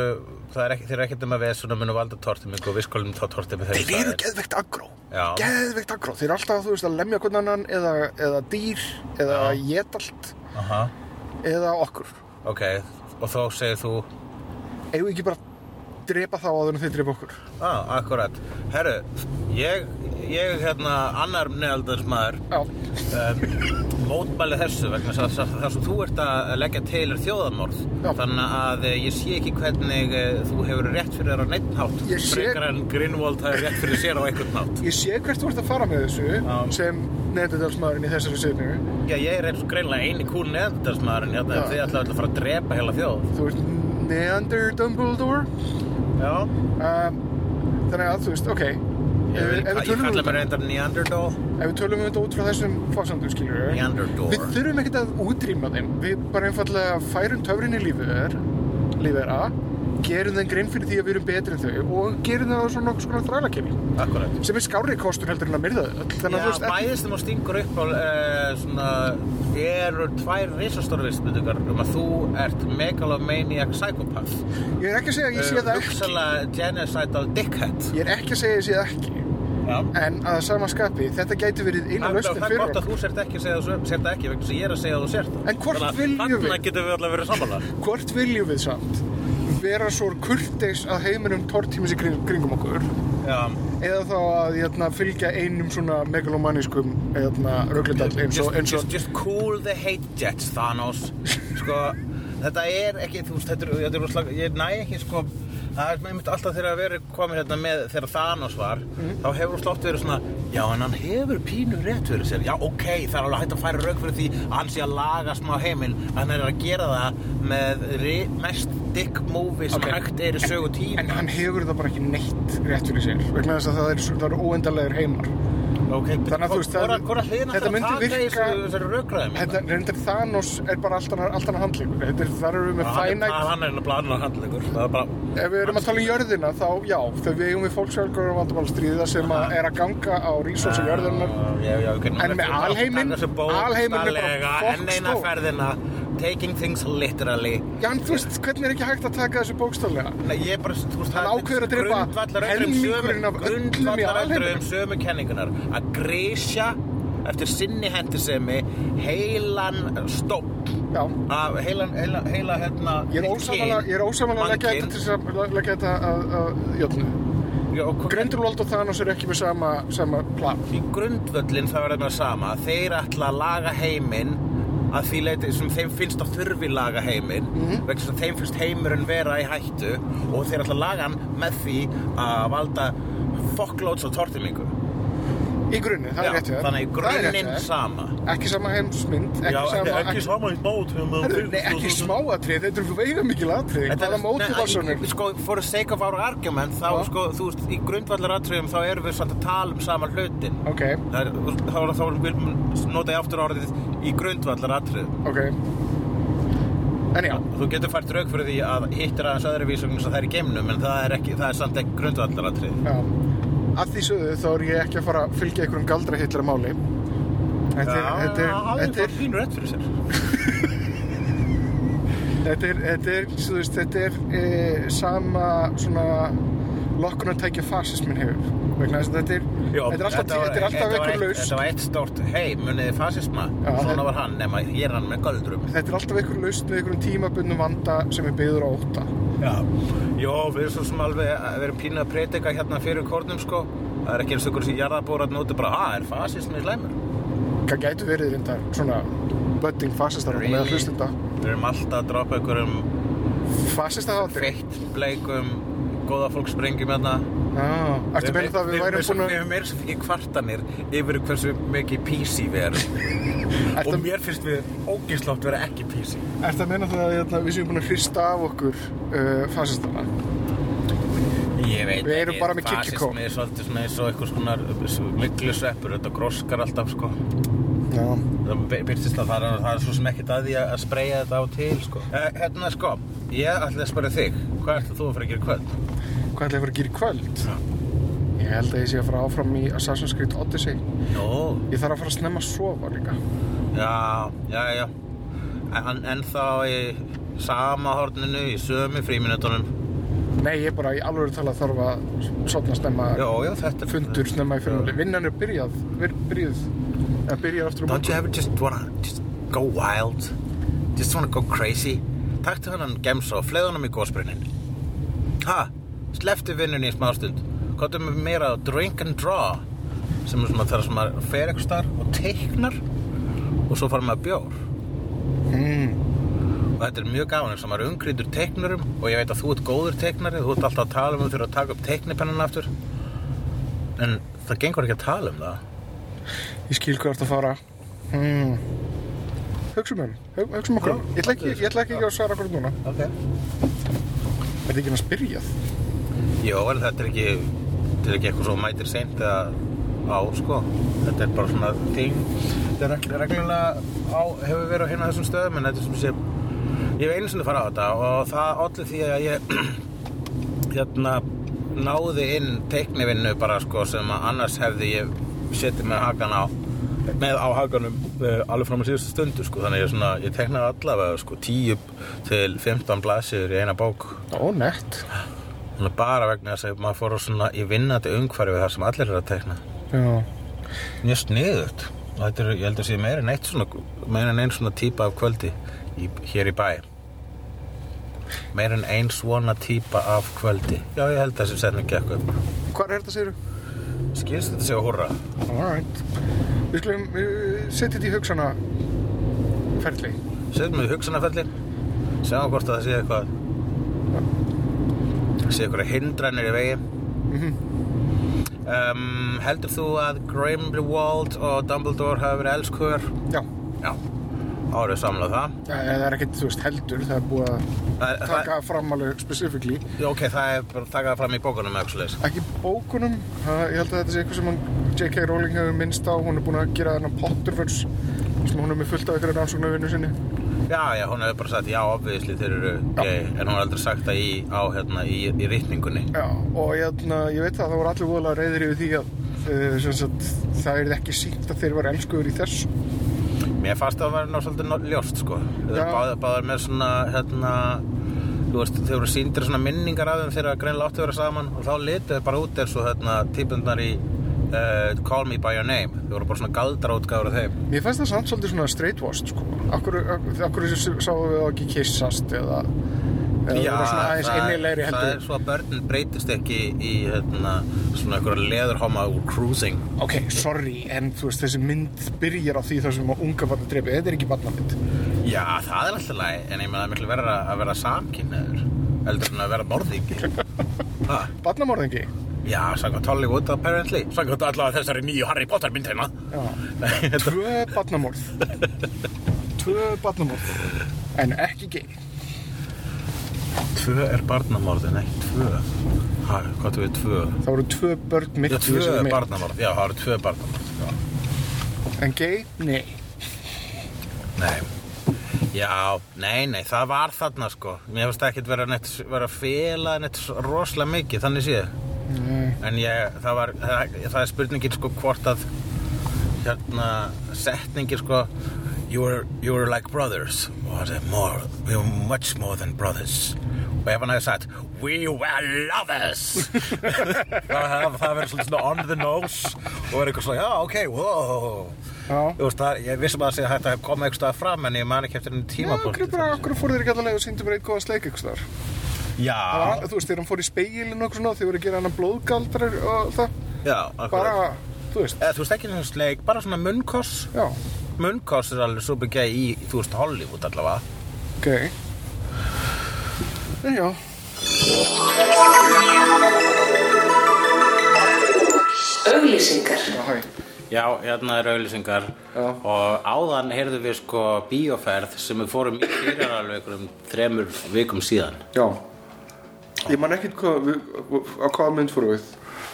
C: það er ekki, þeir eru ekkert um að vesunum munu valda tortimingu og við skulum þá tortimingu þeir.
B: þeir eru geðveikt aggró
C: Já.
B: geðveikt aggró, þeir eru alltaf þú veist að lemja hvernig annan eða, eða dýr eða jedalt
C: Aha,
B: eða okkur
C: ok. Og þá segir þú,
B: eigum við ekki bara að drepa þá áður en þeir drepa okkur
C: ah, akkurat. Herru, ég, ég, hérna, annar neðaldismæður
B: já,
C: um, mótmæli þessu vegna þess að- þess að það sem þú ert að leggja til er þjóðamorð
B: Já.
C: þannig að eh, ég sé ekki hvernig eh, þú hefur rétt fyrir þér á neitt hátt
B: Ég sé-
C: frekar en Grinwald hafi rétt fyrir sér á einhvern hátt
B: ég sé hvert þú ert að fara með þessu
C: Já.
B: sem neandertalsmaðurinn í þessari setningu
C: Já, ég er eins og greinlega eini kún neðandarsmaðurinn hérna,
B: Já.
C: þið ætlaðu öll að fara að drepa heila þjóð
B: þú ert neander Dumbledore
C: Já,
B: um, þannig að þú veist, ok
C: ég,
B: Ef
C: vil,
B: við- ef við
C: ég
B: tölum um
C: kalla mér
B: þetta-
C: reyndar Neanderthal
B: ef við tölum um þetta út frá þessum fórsandum skilur við
C: Neanderthal.
B: við þurfum ekkert að útrýma þeim við bara einfallega færum töfrin í lífið þeir lífið er að gerum þeim grein fyrir því að við erum betri en þau og gerum það svona nokkuð svona þrælakefi
C: Akkurat
B: sem er skárri kostur heldur en að myrða þau öll. þannig
C: Já,
B: að þú veist, ekki,
C: bæðist þeim og stingur upp á uh, svona, eru tvær risastóra vistbyttingar um að þú ert megalomaniac psychopath
B: ég er ekki að segja að ég
C: Eh,
B: sé það ekki
C: Hugsalega genocidal dickhead
B: ég er ekki að segja að ég sé það ekki
C: Já
B: en að sama skapi, þetta gæti verið eina
C: Það
B: lausnin
C: það er
B: fyrir
C: gott að
B: okkur
C: þú sért ekki að segja að þú sért það ekki vegna þess að ég er að segja að þú sért það
B: En hvort
C: Þannig að
B: viljum við?
C: Þannig getum við alltaf verið sammála
B: hvort viljum við samt vera svo kurteis að heiminum tortímis í kring, kringum okkur
C: Já
B: eða þá að jæna, fylgja einum svona megalomanískum rögglindall eins og,
C: just,
B: eins
C: just,
B: og
C: just cool the hate jets Thanos Sko Þetta er ekki Þú veist þetta er, þetta er rosalega Ég næ ekki sko Það er einmitt alltaf þegar að verið komin hérna með þegar Thanos var
B: Mhm.
C: þá hefur hún slótt verið svona já en hann hefur pínu rétt fyrir sér já ok það er alveg hægt að færa rauk fyrir því að hann sé að laga smá heiminn en hann er að gera það með ri- mest dick movie sem
B: Ok.
C: hægt er í sögu tíma
B: en hann hefur það bara ekki neitt rétt fyrir sér vegna þess að það eru er óendarlegur heimar
C: Ok,
B: Þannig að þú veist, það-
C: hvora hliðin
B: þetta
C: ætlar að
B: myndi
C: taka í
B: virka-
C: þessu- hérna? þessari rökraðum
B: þetta reyndar Thanos er bara allt annar, allt annar handlingur þetta er þar erum við með fænætt
C: hann er nefnilega annar handlegur það er bara
B: ef við erum að tala um jörðina þá já þegar við eigum við fólksvelgur og vandamálstríða sem að er að ganga á rísósi jörðunar
C: Já, já, ok, nú
B: En
C: ertu
B: með
C: bara að
B: alheiminn-
C: taka þessu bók
B: alheiminn er bara
C: staðlega, enn eina
B: fokkstór.
C: ferðina taking things literally
B: já en þú veist hvernig er ekki hægt að taka þessu bókstálega
C: Nei, ég bara, þú veist,
B: Hann ákveður að drepa helmingurinn af öllum í alheiminum.
C: grundvallaröndrum sömu kenningunar að grísja eftir sinni hendisemi heilan stók
B: já
C: af heilan, heila, heila hérna
B: Ég er
C: heilt
B: ósamála,
C: kyn,
B: ég er ósamála að leggja
C: mannkyn.
B: þetta til þess að leggja þetta að, að jöfnu.
C: Já, og hvað-
B: Grindurlóld og Thanos er ekki með sama, sama plan.
C: í grundvöllin það verður með sama þeir ætla að laga heiminn að því leiti sem þeim finnst að þurfi laga heiminn
B: Mhm.
C: vegna þess að þeim finnst heimurinn vera í hættu og þeir ætla að laga hann með því að valda fokklóts og tortimingu
B: Í grunni, það
C: Já,
B: er rétt hjá þér. Það er
C: þannig í
B: rétt hjá
C: grunninn
B: þér.
C: sama
B: Ekki sama heimsmynd, ekki sama...
C: sama í bátum
B: Herðu, nei, ekki smá atrið, þetta eru veiga mikil atrið. Hvaða mótið var svona?
C: Sko, for the sake of our argument þá,
B: Já.
C: sko, þú veist, í grundvallaratriðum þá erum við samt að tala um sama hlutin
B: Ok,
C: Það er, þá, þá, þá vil maður nota ég aftur orðið í grundvallar atrið.
B: ok. En já,
C: Þú getur fært rauk fyrir því að hitt er aðeins öðru vísum eins og það er í geimnum en það er, ekki, það er samt ekki grundvallar atrið.
B: já. Að því sögðu þá er ég ekki að fara að fylgja einhverjum galdra hitlara máli. Þetta er, þetta er, þetta er,
C: pínu rétt fyrir sér.
B: Þetta er, þetta er, þú veist, þetta er e, sama svona lokkunartækja fasismin hefur vegna þess að þetta er, þetta er alltaf, þetta þetta er alltaf einhver laus
C: e- Þetta var eitt stórt, hei, muniði fasisma,
B: Já, þetta-
C: svona var hann, nema ég er hann með göldrum.
B: þetta er alltaf einhver laus með einhverjum tímabundum vanda sem er byggður á óta
C: Já, Jó, við erum svo sem alveg, við erum pínu að predika hérna fyrir kórnum sko. Það er ekki eins og okkur sem jarðabóratn úti bara, að, er fasismi slæmur?
B: hvað gætu verið reyndar svona budding fasistar really? með
C: Really?
B: hlustenda
C: Við erum alltaf að droppa einhverjum
B: fasista hátir
C: feitt bleikum góða fólk sprengjum hérna
B: eftir meina það að við værum búin
C: Við
B: að
C: erum meira sem fyrir kvartanir yfir hversu mikið PC við erum
B: Ertu-
C: og mér finnst við ógislátt vera ekki PC
B: ert að meina það að hérna, við séum búin að hrista af okkur uh, fasistana
C: Ég veit
B: Við erum
C: ekki,
B: bara með kirkjukó.
C: Fasismi er svolítið svona eins og eitthvað svona myglusveppur, þetta gróskar alltaf sko
B: Já,
C: það by- byrtist að fara það er svo sem ekkert að því að að spreyja þetta á til sko. Eh, hérna sko, ég ætla að spara þig hvað ert þú að fara að gera í kvöld?
B: hvað ætlaði að fara að gera í kvöld? Ég held að ég sé að fara áfram í Assassin's Creed Odyssey.
C: Jó,
B: Ég þarf að fara að snemma að sofa líka.
C: já, já, já en, en þá í sama horninu í sömu fríminutunum
B: Nei, ég bara í alveg talað þarf að sofna snemma,
C: já, já, þetta er
B: fundur snemma í fyrir. Vinnan er byrjað, vir, byrjuð, eða byrjað aftur á
C: Don't you
B: morgun.
C: ever just wanna just go wild just wanna go crazy taktu hennan gems og fleðu hennum í gósbrunin ha, sleftu vinnunni í smástund kóttu með mér á drink and draw sem er svona þar sem maður fer eitthvað star og teiknar og svo fara maður bjór
B: Mm,
C: og þetta er mjög gaman eins og maður er umgrindur teiknurum og ég veit að þú ert góður teiknari þú ert alltaf að tala um þú þurfa að taka upp teiknipennan aftur en það gengur ekki að tala um það
B: ég skil hvað þú ert að fara. Mm. Hugsum um, hug- hugsum okkur.
C: Já,
B: Ég ætla ekki, ég ætla ekki að svara okkur núna.
C: ok
B: Er þetta ekki hans byrjað?
C: Jó, en þetta er ekki, þetta er ekki eitthvað svo mætir seint eða á, sko. Þetta er bara svona þing. Þetta er regl- reglulega á, hefur verið á hérna þessum stöðum, en þetta er sem sé, ég hef einu sinni fara á þetta og það allir því að ég, hérna, náði inn teiknivinnu bara, sko, sem að annars hefði ég setið með hakan á, með á hakanum uh, alveg fram á síðustu stundu, sko. Þannig ég, svona, ég teiknaði allavega, sko, 10 til 15 blaðsíður í eina bók.
B: Ó, nett.
C: Hún er bara vegna þess að maður fór á svona í vinnandi umhverfi þar sem allir eru að tekna.
B: Já.
C: Mjög sniðugt. Og Þetta er, ég held að sé meira en eitt svona, meira en einn svona típa af kvöldi í, hér í bæ. Meira en einn svona típa af kvöldi. Já, ég held að þessi setning gekk upp.
B: Hvað er þetta, segir þú?
C: Skilst þetta sig að húrra?
B: Alright. Við skulum uh, setja þetta í hugsana ferli.
C: Setjum við hugsanafellir, sjáum hvort að það sé eitthvað, sé eitthvað hindranir í vegi. Um, heldur þú að Grimwald og Dumbledore hafa verið elskuður?
B: Já.
C: Já, árið samlað um það.
B: Eh, Það er ekkert, þú veist, heldur. Það er búið að
C: Það, er-
B: taka fram alveg specifíkli.
C: það, ok, það er bara takað fram í bókunum eða eitthvað leys.
B: Ekki bókunum. Það, ég held að þetta sé eitthvað sem hann, J.K. Rowling hefur minnst á. Hún er búin að gera þennan Potterverse sem hún er með fullt af ykkur rannsóknarvinnu sinni.
C: Já, já, hún hefur bara sagt, já, obviðisli þeir eru gay, en hún har aldrei sagt það í, á, hérna, í, í rýtningunni.
B: Já, og ég, hérna, ég veit að það voru allir voðalega reyðir yfir því að uh, sem sagt, það er ekki sínt að þeir var elskuður í þessu.
C: Mér fannst það að vera ná svolítið ná- ljóst, sko. Þeir
B: Já.
C: eru báðir, báðir með svona, hérna, þú veist, þeir voru síndir svona minningar af þeim þegar að greinlega áttu að vera saman og þá litu þeir bara út eins og, hérna, típundar í uh, Call Me By Your Name. Þeir voru bara svona galdra útgáður af þeim.
B: Mér finnst það samt svolítið svona straightwashed sko. Akkur, akkur, akkur sáum við þá ekki kissast eða, eða það var svona aðeins
C: það-
B: innilegri
C: Það er
B: heldur.
C: svo að börnin breytist ekki í hérna, svona einhverja leðurháma úr cruising
B: Ok, sorry, en þú veist þessi mynd byrjar á því þar sem að unga barna drefi. Þetta er ekki barnamynd.
C: Já, það er alltaf læg En ég meina það er miklu verra að vera samkynnaður Eldur en að vera morðingi ha,
B: Barnamorðingi?
C: Já, samkvæmt Hollywood apparently Samkvæmt allavega þessari nýju Harry Potter mynd hérna
B: Já.
C: Þetta-
B: Tvö barnamorð. Tvö barnamorð. En ekki gay.
C: Tvö er barnamorð, nei, tvö ha, Hvað þú við tvö?
B: Það voru tvö börn mitt
C: Já, tvö er barnamorð, já, það eru tvö barnamorð já.
B: En gay? Nei.
C: Nei Já, nei, nei, það var þarna sko Mér finnst ekkert vera, neitt, vera að fela neitt rosalega mikið, þannig sé
B: Nei.
C: En ég, það var, það, það er spurningin sko hvort að hérna, setningin sko you were, you were like brothers og það er more, we were much more than brothers og ef hann hefði sagt we were lovers það, það, það verið svolítið svona on the nose og verið eitthvað svona, já, ok, wow
B: Já.
C: Þú veist, það, ég vissum að það sé hægt að koma eitthvað fram en ég man ekki eftir enn
B: Já,
C: tímapunkt.
B: okkur bara, okkur fór þeir ekki allavega og síndum bara eitthvað að sleika ykkur þar. Það
C: Já,
B: var, þú veist, þegar hann fór í speilin og okkur svona, þeir voru að gera hann blóðgaldrar og það,
C: já, akkurat.
B: bara, þú veist,
C: Eða, þú veist, ekki svona sleik, bara svona munnkoss.
B: já,
C: Munnkoss er alveg svo byggja í, þú veist, Hollywood allavega.
B: ok. En já,
D: Auglýsingar.
B: já, hæ,
C: Já, hérna er auðlýsingar
B: Já.
C: og áðan heyrðum við sko bíóferð sem við fórum í fyrir alveg einhverjum þremur vikum síðan.
B: já. Ég man ekkert hvað, við- á hvaða mynd fóru við.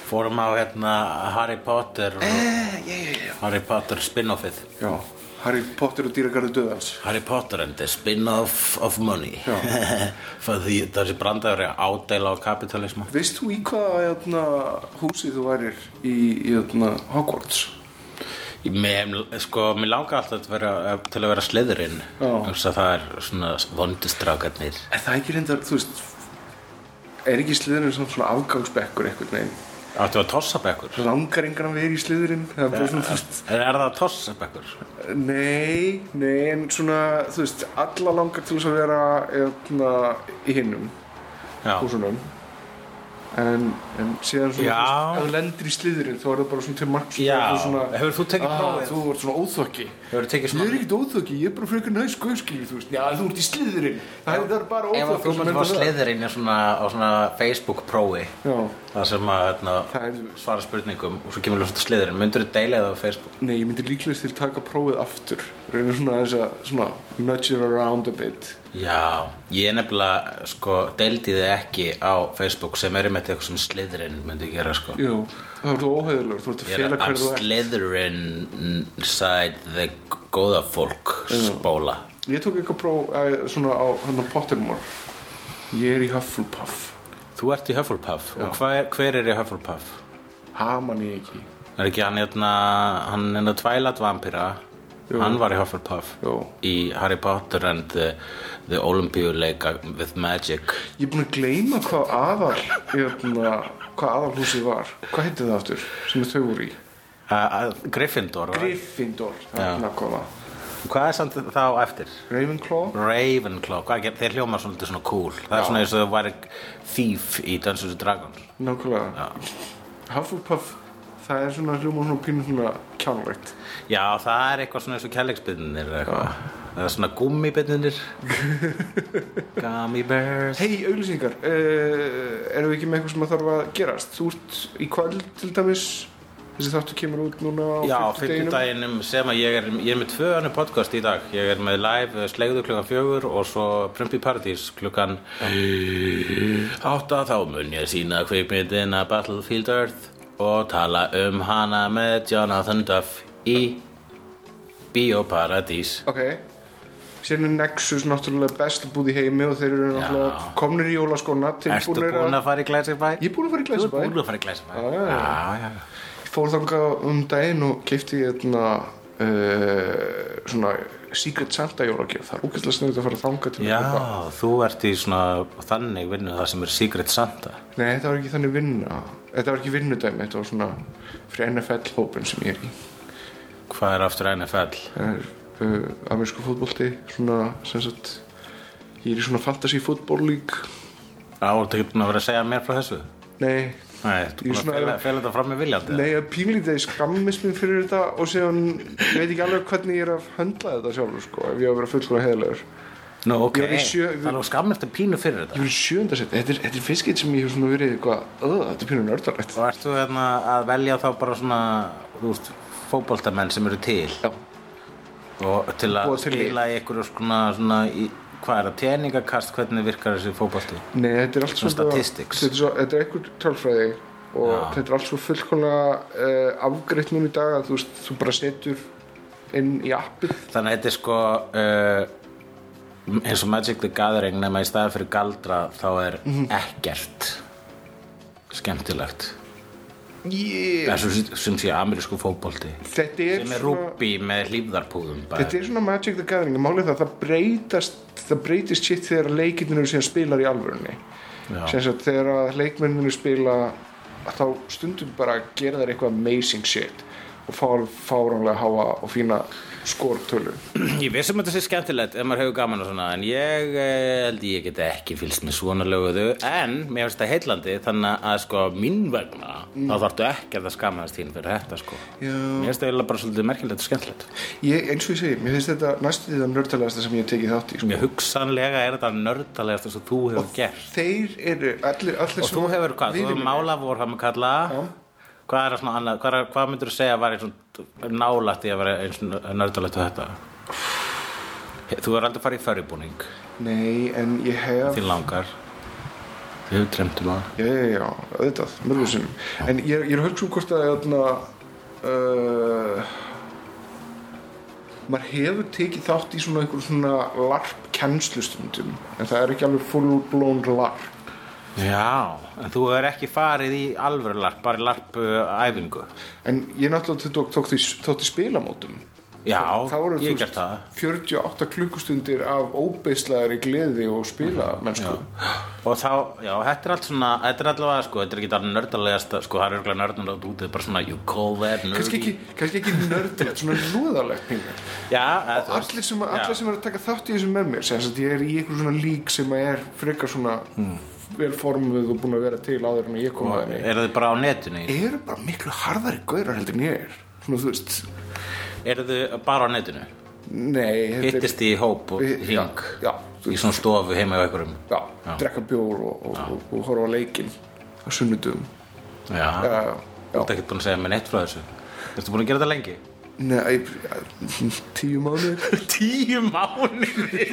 C: Fórum á hérna Harry Potter og
B: yeah, yeah, yeah.
C: Harry Potter spin-offið
B: Já, Harry Potter og dýragarðu döðans
C: Harry Potter and the spin-off of money
B: Já.
C: Það því þessi brandaður er ádæla á kapitalisma
B: Veist þú í hvaða hérna, húsi þú værir í, í hérna, Hogwarts?
C: Mér, sko, mér langar alltaf til að vera, til að vera sliðurinn
B: Já.
C: Þannig að það er svona vondustrákarnir
B: Er það ekki reyndar, þú veist, er ekki sliðurinn svona, svona afgangsbekkur einhvern veginn?
C: Áttu að tossa bekkur?
B: Langar engan að vera í sliðurinn? Það er bara svona, þú veist,
C: Er, er það tossa bekkur?
B: nei, nei, en svona, þú veist, alla langar til þess að vera hérna, í hinnum
C: Já,
B: húsunum. En, en síðan svona,
C: Já.
B: þú veist, ef þú lendir í sliðurinn, þá er það bara svona til margs.
C: Já.
B: það er svona,
C: Hefur þú tekið
B: "Ah,
C: prófið?"
B: Þú ert svona óþokki.
C: hefur tekið
B: Ég er
C: svona
B: ekkert óþöggi, ég er bara frekar næs guðskilur, þú veist, já, þú ert í sliðurinn, það er- það er bara
C: Ef
B: óþöggi.
C: að þú myndir að sliðurinn er svona á svona Facebook prófi
B: Já,
C: Það sem að hérna,
B: það er,
C: svara spurningum og svo kemur ljósta sliðurinn Myndir þú deila það á Facebook?
B: nei, ég myndi líklegast til að taka prófið aftur, reyna svona þess að, svona, nudge it around a bit.
C: Já, ég nefnilega sko deildi þið ekki á Facebook sem er með eitthvað sem sliðurinn myndi gera sko
B: Jú, þá ert þú óhæðilegur, þú ert að
C: Ég er
B: fela
C: I'm
B: hverju þú ert.
C: Slytherin side the góða fólk spóla
B: Ég tók eitthvað próf, eh, svona, á, hann á Pottermore, ég er í Hufflepuff,
C: Þú ert í Hufflepuff og hver, hver er í Hufflepuff?
B: ha, man ég ekki,
C: Er ekki hann hérna, hann hérna Twilight Vampira Hann var í Hufflepuff
B: jú.
C: Í Harry Potter and the, the Olympiuleika with Magic
B: Ég er búinn að gleyma hvað aðal, hérna, hvað aðalhúsið var, hvað heitir það aftur, sem þau voru í?
C: uh, Gryffindor var-
B: Gryffindor, það er nákvæmlega.
C: Hvað er samt þá eftir?
B: Ravenclaw
C: Ravenclaw, hvað, er- þeir hljóma svolítið svona cool Það er svona eins og þau væri thief í Dungeons and Dragons
B: Nákvæmlega Hufflepuff Það er svona hljóma svona pínu svona kjánlegt
C: Já, það er eitthvað svona eins og kærleiksbyrðinir eða eitthvað. Það er svona gummibyrðinir. Gummy bears.
B: Hei, auglýsingar uh, Erum við ekki með eitthvað sem að þarf að gerast? Þú ert í kvöld til dæmis Þessi þáttu kemur út núna á
C: Já,
B: fimmtudeginum.
C: fyrir daginum sem að ég er, ég er með tvö annu podcast í dag. Ég er með live eh, slegðu klukkan fjögur og svo Prumpi Paradís klukkan átta. Þá mun ég sína kvikmyndina Battlefield Earth og tala um hana með Jonathan Duff í Bíóparadís.
B: Ok Sérna Nexus náttúrulega best búð í heimi og þeir eru náttúrulega komnir í jólaskona
C: Ertu
B: tilbúnir
C: búin að fara í Glæsibæ?
B: Ég er búin að fara í
C: Þú ert
B: Glæsibæ
C: búin að fara í Glæsibæ?
B: Já, já, já.
C: já, já.
B: fór þangað um daginn og kefti hérna uh, svona Secret Santa jólagjöf það er ógæslega snöðið að fara þangað til að kaupa.
C: Já, þú ert í svona þannig vinnu það sem er Secret Santa.
B: nei, þetta var ekki þannig vinna þetta var ekki vinnudæmi, þetta var svona fyrir NFL hópin sem ég er í
C: Hvað er aftur NFL?
B: það er uh, amerísku fótbolti svona, sem sagt ég er í svona fantasy fútból lík
C: Já, ertu ekki búin að vera að segja mér frá þessu?
B: nei,
C: Nei, ertu
B: Ég
C: búin að
B: svona-
C: fela, fela þetta fram með viljandi?
B: nei, ég pínlítið ég skammist mér fyrir þetta og síðan ég veit ekki alveg hvernig ég er að höndla þetta sjálfur sko, ef ég á að vera fullur og heðilegur
C: Nú, ok,
B: Ég er í sjö-
C: það er nú skammert að pínu fyrir
B: Ég
C: þetta.
B: vil sjönda setja, þetta er, þetta er fiskit sem ég hef svona verið eitthvað, öð, þetta er pínu nördarlegt.
C: Og ertu hérna að velja þá bara svona, þú veist, fótboltamenn sem eru til
B: Já,
C: og til að
B: Búa til lið.
C: skila í einhverju svona, svona í, hvað er það, tjeningakast, hvernig virkar þessi fótbolti?
B: nei, þetta er allt svona,
C: statistics.
B: þetta er, svo, þetta er einhver tölfræði og þetta er allt svo fullkomlega uh, afgreitt núna í dag að þú veist, þú bara setur inn í appið.
C: Þannig að þetta er sko uh, eins og Magic the Gathering nema í staði fyrir galdra þá er
B: Mhm.
C: ekkert skemmtilegt
B: Yeah.
C: eins og sem sé amerísku fótbolti
B: Þetta er,
C: sem
B: svona,
C: er rúbbi með hlýfðarpúðum bara.
B: þetta er svona Magic the Gathering, málið það, það breytast, það breytist shit þegar leikindinu sem spilar í alvörunni.
C: Já.
B: sem sagt þegar að leikmenninu spila þá stundum bara gera þær eitthvað amazing shit og fá fáránlega háa og fína skortölu
C: Ég vissum að þetta sé skemmtilegt ef maður hefur gaman og svona en ég eh, held ég get ekki fylgst með svona löguðu en mér finnst þetta heillandi þannig að sko mín vegna þá þarftu ekkert að skamast þín fyrir þetta sko
B: Mm. Já.
C: Mér finnst þetta eiginlega bara svolítið merkilegt og skemmtilegt
B: ég, eins og ég segi, mér finnst þetta næstu því það nördalegasta sem ég hef tekið þátt í sko.
C: Mér hugsanlega er þetta nördalegasta sem þú hefur gert
B: þeir eru allir, allir
C: Og þú hefur hvað, þú hefur málavor hann með kalla Hvað er það svona annað, hvað, er- hvað myndur þú segja að var eins og nálætt í að vera eins og nördalegt og þetta? Þú hefur aldrei farið í förribúning
B: nei, en ég hef
C: Þín langar Ég hef dremt um það.
B: Já, já, já, auðvitað, mörgum sinnum. En ég, er- ég er að hugsa um hvort að, jæna, uh, maður hefur tekið þátt í svona einhver svona larp kennslustundum, en það er ekki alveg full blown larp.
C: Já, en þú er ekki farið í alvöru larp, bara í larp uh, æfingu.
B: En ég náttúrulega tók, tók því, þátt í spilamótum.
C: Já,
B: Það voru,
C: ég
B: þú veist,
C: gert það.
B: 48 klukkustundir af óbeislaðari gleði og spilamennsku.
C: Og þá, já, þetta er allt svona, þetta er allavega, sko, þetta er ekki það nördalegasta, sko, það er örgulega nördum átt úti, bara svona, you call that nerdy.
B: Kannski ekki, kannski ekki nördilegt, svona lúðalegt pínlega.
C: Já, eða þú veist.
B: Allir sem,
C: Já.
B: allir sem er að taka þátt í þessum með mér sem þess að ég er í einhver svona lík sem er frekar svona
C: Hmm.
B: vel formuð og búin að vera til áður en ég kom að henni
C: Eru þið bara á netinu?
B: eru bara miklu harðari gaurar heldur en ég er svona þú veist
C: Eru þið bara á netinu?
B: nei, þetta er-
C: Hittist þið í hóp og
B: Við- já,
C: hring?
B: já, þú
C: Í
B: veist,
C: svona stofu heima hjá einhverjum?
B: já, drekka bjór og, og, og, og horfa á leikinn á sunnudum
C: Já.
B: já, já,
C: Þú ert ekkert búin að segja mér neitt frá þessu. Ertu búin að gera þetta lengi?
B: nei tíu mánuðir
C: Tíu mánuði!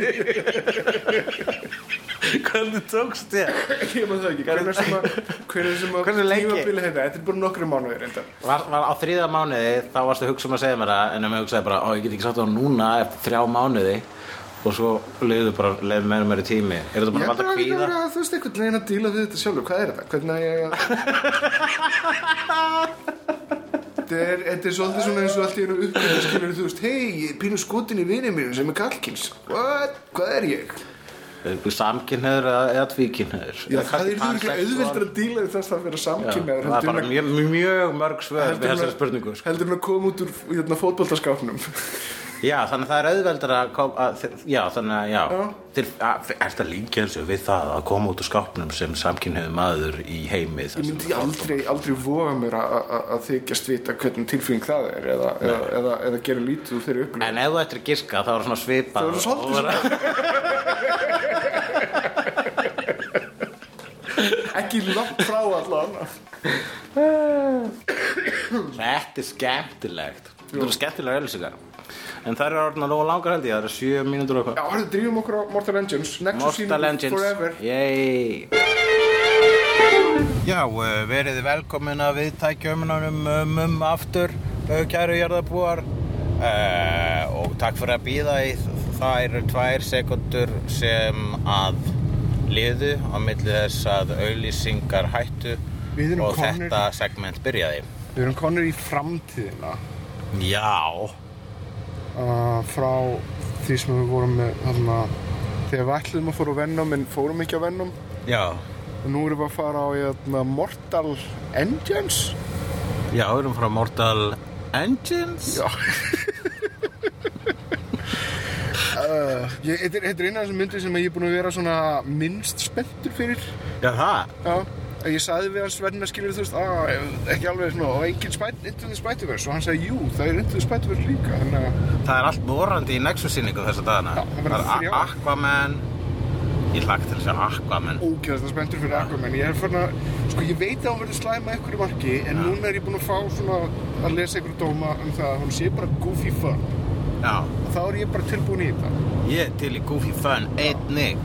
C: Hvernig tókst þér?
B: ég maður það ekki, hvernig sem að hvernig sem að
C: Hversu lengi?
B: tímabilið þetta, þetta er bara nokkri mánuðir reyndar.
C: Var, var á þriða mánuði, þá varstu að hugsa um að segja mér það, en ef ég hugsaði bara, ó, ég get ekki sagt það núna eftir þrjá mánuði, og svo leiðu bara, leiðu meira og meira tími. Er
B: Ég
C: þetta
B: er
C: bara að valda
B: bara ekki að
C: kvíða?
B: vera, þú veist, einhvern veginn að díla við þetta sjálfur, hvað er þetta? Hvernig að ég... Þetta er, þetta er svolítið svona eins og allt í einu uppbyrðu skilur þú veist, hei, ég er pínu skotin í vinið mínum sem er kallkins. What? Hvað er ég?
C: Samkynhneður eða, eða tvíkynhneður?
B: Já, það er þú auðveldur að díla við þess að vera samkynnaður
C: Það er bara
B: heldur en að-
C: mjög, mjög mörg svör við
B: heldur en
C: þessari
B: að-
C: spurningu. Sko.
B: Heldur en að koma út úr hérna, fótboltaskápnum.
C: Já, þannig að það er auðveldur að koma, að, þi- já, þannig að, já,
B: Já.
C: Þeir, að, er þetta líka eins og við það að koma út úr skápnum sem samkynhneður maður í heimi? þar
B: Ég
C: sem-
B: myndi aldrei, aldrei voga mér að- að að þykjast vita hvernig tilfinning það er eða, eða, eða, eða gera lítið úr þeirri upplifun.
C: En ef þú ættir að giska, þá er svona svipað
B: Það var svolítið
C: og-
B: Ekki langt frá allan.
C: Þetta er skemmtilegt Þetta eru skemmtilega öllisingar En það eru orðin að nógu langar held ég, það eru sjö mínútur og
B: Já,
C: eitthvað
B: hérna, drýjum okkur á Mortal Engines. Nexus
C: Mortal
B: sýningu
C: Engines
B: Forever.
C: Yay Já, eh, verið velkomin að viðtækjumunum um, um aftur eh, kæru jarðabúar uh, og takk fyrir að býða í það eru tvær sekundur sem að liðu á milli þess að auðlýsingar hættu
B: Við erum
C: og
B: komnir-
C: þetta segment byrjaði
B: Við erum konur í framtíðina
C: Já
B: uh, frá því sem við vorum með, þarna, þegar við ætluðum að fóra á Venom en fórum ekki á Venom.
C: Já,
B: Og nú erum við að fara á hérna, Mortal Engines.
C: já, við erum frá Mortal Engines
B: Já. Uh, ég, þetta er- þetta er eina af þessum myndir sem ég er búin að vera svona minnst spenntur fyrir
C: Já, það
B: Já, ég sagði við hans verðin að skilja þú veist, að ekki alveg svona, og engin spæt, Into the Spider-Verse, og hann sagði, jú, það er Into the Spider-Verse líka, þannig að,
C: Það er allt vorandi í Nexus-sýningu þessa dagana
B: Já, það verða
C: a-
B: þrjár.
C: Aquaman Ég hlakka til að sjá Aquaman
B: ógeðast að spenntur fyrir Aquaman, ég er farin að, sko, ég veit að hann verður slæma einhverju marki, en núna er ég búinn að fá svona að lesa einhverju dóma um það að hún sé bara goofy fun,
C: Já,
B: og þá er ég bara tilbúin í þetta.
C: ég er til í Goofy Fun, einnig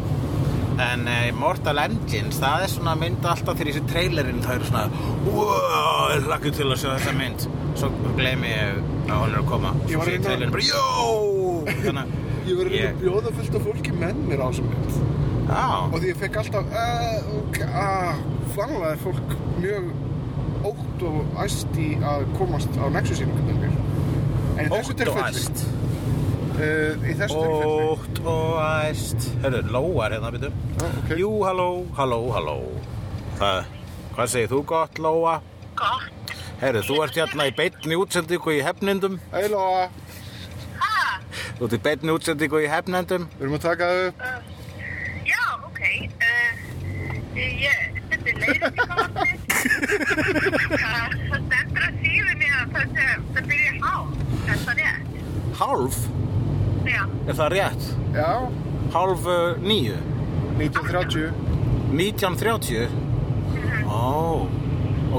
C: En uh, Mortal Engines, það er svona mynd alltaf þegar ég sé trailerinn Það eru svona, wow, ég hlakka til að sjá þessa mynd Svo gleymi ég að hún er að koma
B: Ég
C: Svo
B: var hérna-
C: sé ég
B: reyndar-
C: trailerinn bara, jó Þannig að-
B: Ég verður að
C: Ég-
B: bjóða fullt af fólki með mér á þessum mynd,
C: Já,
B: og því ég fekk alltaf, uh, ok, ah, vanlega er fólk mjög ótt og æst í að komast á Nexus-sýningum mér. En í þessu
C: ótt og
B: tilfelli-
C: æst
B: Uh, í þessu tilfelli
C: Ótt og æst Hörru, lóar hérna, byrju
B: Já, Ah, ok.
C: Jú, halló, halló, halló Það, hvað segir þú gott, lóa?
E: Gott.
C: Herru, þú ert hérna í beinni útsendingu í hefnendum
B: Hei Lóa,
C: Þú ert í beinni útsendingu í hefnendum
B: við erum að taka það upp
E: Já, ok. Uh, ég stundi leiðin í kosti. Það það stendur að síðunni að það, sem- það byrja hálf. Er það rétt?
C: Hálf,
E: Já.
C: er það rétt?
B: Já,
C: Hálf uh, nýju
B: 1930
C: 1930
E: Mhm.
C: Ó,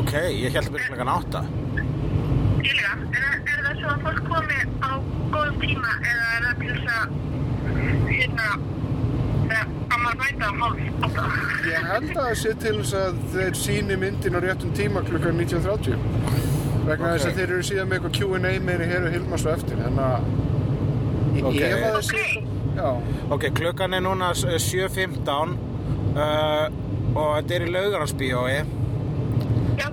C: ok, ég held að byrja klokkan átta
E: Ég líka. Er, það- er það svo að fólk komi á góðum tíma eða er það til þess að hérna, eða að maður mæta á hálf átta?
B: Ég held að það sé til þess að þeir síni myndin á réttum tíma klukkan 19.30 vegna þess
C: Ok.
B: að þeir eru síðan með eitthvað Q&A meiri hér og hilma svo eftir en að ég
C: Ok.
B: okay. ef að þessi
E: Ok.
B: já,
C: Ok, klukkan er núna eh, s- 7.15 uh, og þetta er í laugaransbíói
E: Já,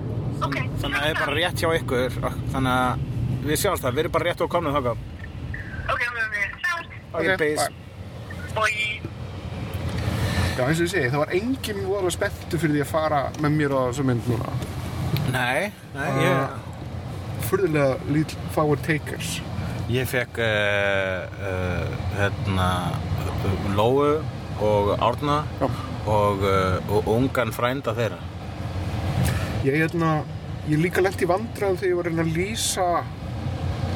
E: ok.
C: þannig að það er bara rétt hjá ykkur og- þannig að við sjáumst það, við erum bara rétt og komnum þáka
E: Ok, með mér. Sátt.
C: Ok,
B: Ok,
C: peace
B: bye.
E: Bói.
B: já eins og ég segi, það var enginn voru spenntu fyrir því að fara með mér á þessu mynd núna
C: Nei, nei, ég,
B: furðulega lítil fáir takers
C: ég fekk uh, uh, hérna Lóu og Árna
B: Já.
C: og, uh, og ungan frænda þeirra
B: ég hérna, ég líka lent í vandræðum þegar ég var að reyna að lýsa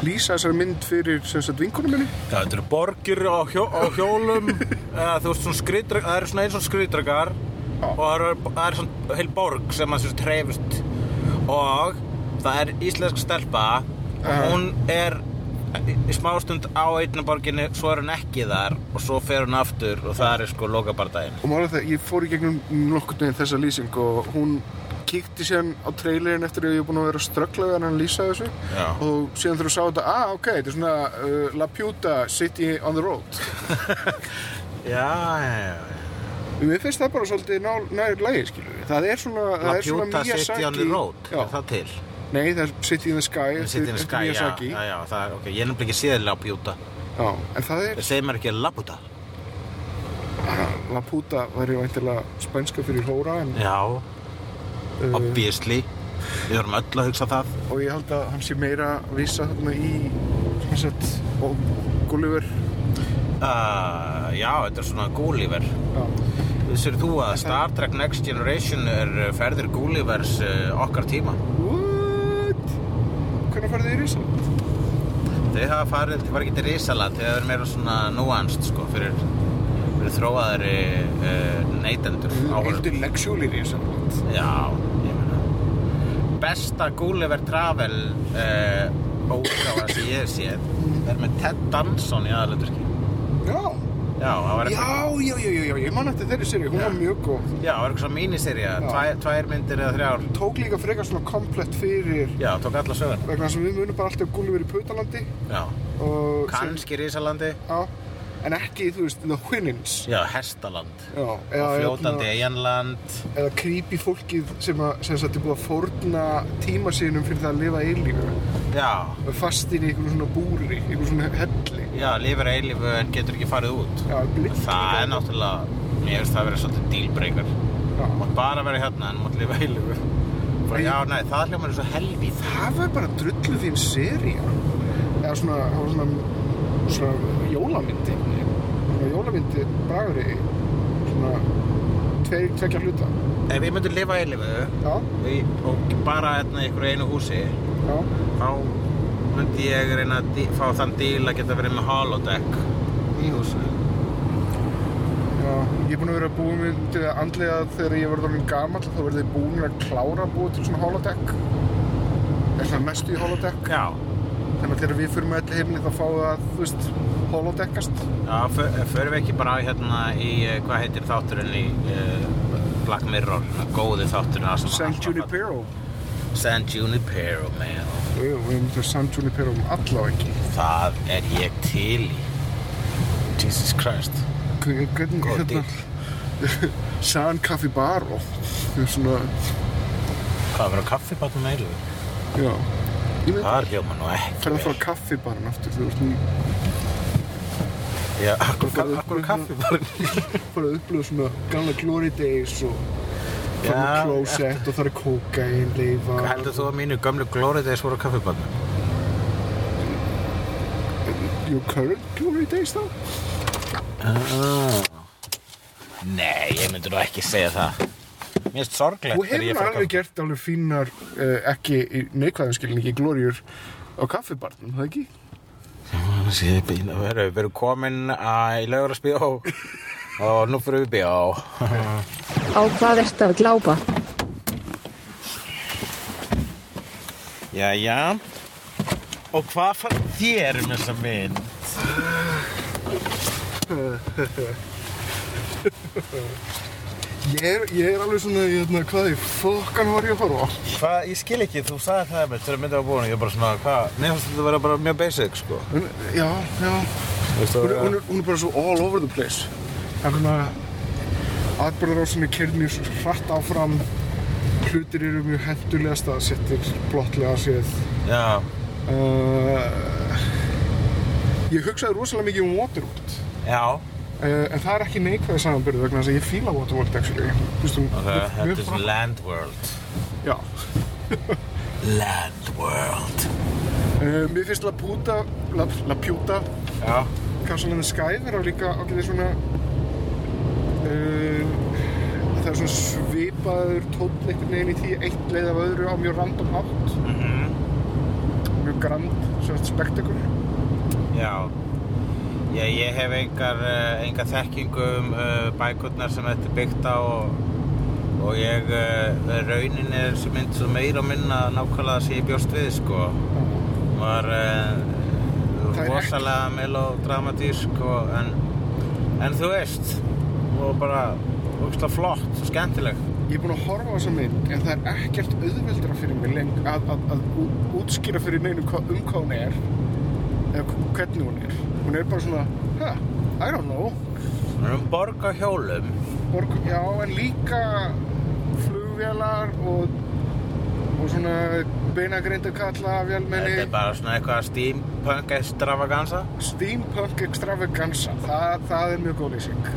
B: lýsa þessari mynd fyrir sem sagt vinkunum minni
C: Já, þetta eru borgir á, hjó, á hjólum eða þú veist svona skriðdrag það eru svona eins og skriðdragar og það eru, það eru svona heil borg sem að þessu trefist og það er íslensk stelpa og hún er í smástund á einna borginni svo er hún ekki þar og svo fer hún aftur og það er sko lokabardaginn
B: og maður að það, ég fór í gegnum nokkurn veginn þessa lýsing og hún kíkti síðan á trailerin eftir að ég er búin að vera að ströggla við hann að lýsa þessu
C: Já.
B: og síðan þurfa að sá þetta, ah ok, þetta er svona uh, La Piuta City on the Road
C: Já, já, já
B: Mér finnst það bara svolítið nál, nær lægi, skilur við Það er svona,
C: La
B: það er svona
C: Pjúta City on the Road,
B: Já,
C: er það til?
B: nei, það er City in the Sky
C: City in the
B: eftir-
C: Sky,
B: eftir
C: já,
B: Miyazaki.
C: já, já, það er, ok, ég er nefnilega ekki séð La Pjúta
B: Já, en það er,
C: Það segir mér ekki La Pjúta
B: La Puta væri væntilega spænska fyrir hóra en,
C: Já, obviously Við vorum öll að hugsa það
B: og ég held að hann sé meira að vísa þarna í sem sagt, og Gulliver
C: uh, Já, þetta er svona Gulliver
B: Já,
C: Vissir þú að Star Trek Next Generation er uh, ferðir Gullivers uh, okkar tíma
B: what? Hvernig farið þið í Rísa?
C: Þau hafa farið, þau var ekki til risalat Þau hafa verið meira svona nuanced sko fyrir, fyrir þróaðari uh, neytendur
B: Mm,
C: áhorfendur.
B: leksjúli í Rísa
C: Já, ég meina Besta Gulliver Travel uh, ógáða sem ég hef E séð er með Ted Danson í aðalöndurki
B: Já,
C: Já, það var
B: já, já, já, já, já, ég man eftir þeirri séri, hún var mjög góð
C: Já, það var eitthvað svona míniserja,
B: Já.
C: tvær, tvær myndir eða þrjár.
B: Tók líka frekar svona komplett fyrir
C: Já, tók alla sögur.
B: vegna þess að við munum bara alltaf Gulliver í Putalandi
C: Já,
B: og
C: kannski Rísalandi.
B: Já, en ekki, þú veist, The Winnins
C: Já, Hestaland.
B: Já, eða,
C: Og fljótandi
B: hérna,
C: Eyjanland.
B: eða creepy fólkið sem, að, sem sagt er búið að fórna tíma sínum fyrir það að lifa eilífu
C: Já,
B: fastin í einhvern svona búri, einhvern svona helli
C: já, lifir eilífu en getur ekki farið út.
B: Já, blitt
C: Það er náttúrulega, mér finnst það verið svolítið dealbreaker.
B: náttúrulega
C: Mátt bara vera hérna en mátt lifa eilífu. Bara,
B: Nei.
C: já, nei, það hljómar eins og helvíð.
B: Það var bara drullu þín sería eða svona, það var svona svona jólamyndi svona jólamyndi bragur í svona tve, tvekja hluta
C: Ef ég myndi lifa eilífu
B: Já,
C: í- og bara hérna í einhverju einu húsi,
B: já,
C: þá myndi ég reyna að dí- fá þann díl að geta verið með holodeck í húsinu.
B: já Ég er búinn að vera að búið mig til að andlega þegar ég var orðin gamall þá verði ég búinn að klára að búið til svona holodeck eða svona mestu í holodeck
C: Já,
B: þannig að þegar við fyrir með allir heimni þá fáum við að, þú veist, holodeckast
C: já för, förum við ekki bara hérna í, eh, hvað heitir þátturinn í uh, Black Mirror, hérna, góði þátturinn þar sem
B: San
C: allt var
B: Junipero
C: fallegt. San Junipero, man,
B: Jú, jú, við erum til San Junipero um allavega ekki
C: það er ég til í. Jesus Christ.
B: Hvernig, hvernig,
C: Góð
B: hérna San Capybaro Það er svona,
C: Hvað verður kaffibatnum eiginlega?
B: já Ég veit,
C: Það er hljóma nú ekki.
B: ferð að
C: vel.
B: fara kaffibarinn aftur Þú veist, hún
C: Já, akkur,
B: Farðu-
C: akkur, akkur kaffibarinn.
B: fara að upplifa svona gamla glory days og fara
C: Já,
B: með klósett og það er kókain, leifa
C: Heldur þú að mínu gömlu glóri þegar voru kaffibatnum?
B: Your current glory days þá?
C: Nei, ég myndi nú ekki segja það. Mér finnst sorglegt
B: Þú hefur alveg gert alveg fínar uh, ekki í neikvæðum skilningi glóriur á kaffibarnum, það ekki?
C: Við erum, við erum komin að, í laugararsbíó og nú fyrir við í bíó.
F: Á hvað ert að glápa?
C: Jæja. Og hvað fann þér um þessa mynd?
B: Ég er, ég er alveg svona, hérna, hvað í fokkan var ég að horfa á?
C: Hvað, ég skil ekki, þú sagði það með þegar myndið var búin, ég var bara svona, hvað, mér finnst þetta að vera bara mjög basic, sko.
B: Hún- Já, já,
C: Þú veist,
B: hún,
C: það
B: er- hún, er, hún er bara svo all over the place. Það er svona, atbyrðarásinni kerði mjög svo hratt áfram, hlutir eru mjög hendulega staðsettir, blottlega séð.
C: Já,
B: Uh, ég hugsaði rosalega mikið um Waterworld.
C: já,
B: Uh, en það er ekki neikvæði samanbyrðu vegna þess að ég fíla Waterworld actually. Þú veist, hún-
C: ok,
B: mjög- mjög
C: þetta er
B: fram-
C: svona land world.
B: Já.
C: Land world.
B: Uh, mér finnst La Puta, La, La Puta,
C: Já,
B: Castle in the Sky vera líka ákveðið svona uh, það er svona svipaður tótt einhvern veginn í því eitt leið af öðru á mjög random hátt
C: mhm,
B: mjög grand svona spektakur
C: já. Já, ég hef engar, uh, engar þekkingu um uh, bækurnar sem þetta er byggt á og, og ég, uh, raunin er sem mynd svo meira og minna nákvæmlega sem ég bjóst við, sko. Var uh,
B: Það er
C: rosalega melodramatísk og, en, en þú veist, og bara, ógstlega flott, og skemmtileg.
B: ég er búinn að horfa á þessa mynd en það er ekkert auðveldra fyrir mig leng, að, að, að ú- útskýra fyrir neinu hva, um hvað hún er eða hv- hvernig hún er hún er bara svona, huh, I don't know
C: Hún er um borg á hjólum.
B: Borg, já, en líka flugvélar og, og svona beinagrindakalla,
C: Þetta er
B: vélmenni,
C: bara svona eitthvað steampunk extravaganza.
B: steampunk extravaganza. Það, það er mjög góð lýsing.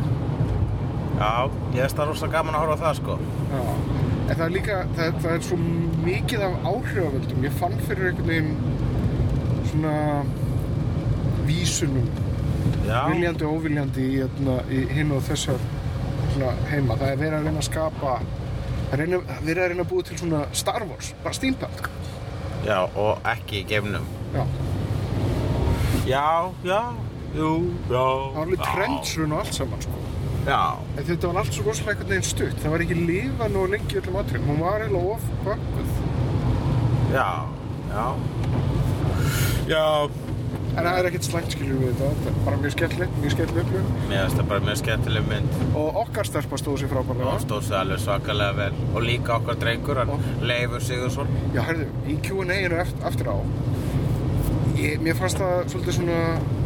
C: Já, ég veist það rosa gaman að horfa á það sko.
B: Já. En það er líka, það, það er svo mikið af áhrifavöldum. Ég fann fyrir einhvern veginn svona vísunum,
C: Já,
B: viljandi og óviljandi í, hérna, í hinn og þessar svona, heima. Það er verið að reyna að skapa, það er reyna- verið að reyna að búa til svona Star Wars, bara steampunk.
C: já, og ekki í geimnum.
B: Já.
C: Já, já, jú, já.
B: Það var alveg trendsun og allt saman sko.
C: Já,
B: En þetta var allt svo rosalega einhvern veginn stutt. Það var ekki lifað nú lengi í öllum atriðum. Hún var eiginlega of bakkuð.
C: já, já. Já,
B: En það er ekkert slæmt skilur við þetta. Þetta er bara mjög skemmtilegt, mjög skemmtileg upplifun.
C: mér finnst það bara mjög skemmtileg mynd
B: Og okkar stelpa stóð sér
C: og
B: frábærlega.
C: hann stóð sig alveg svakalega vel. Og líka okkar drengur, hann Leifur Sigursson.
B: Já, herðu, í Q&A-inu eft- eftir á, ég, mér fannst það svolítið svona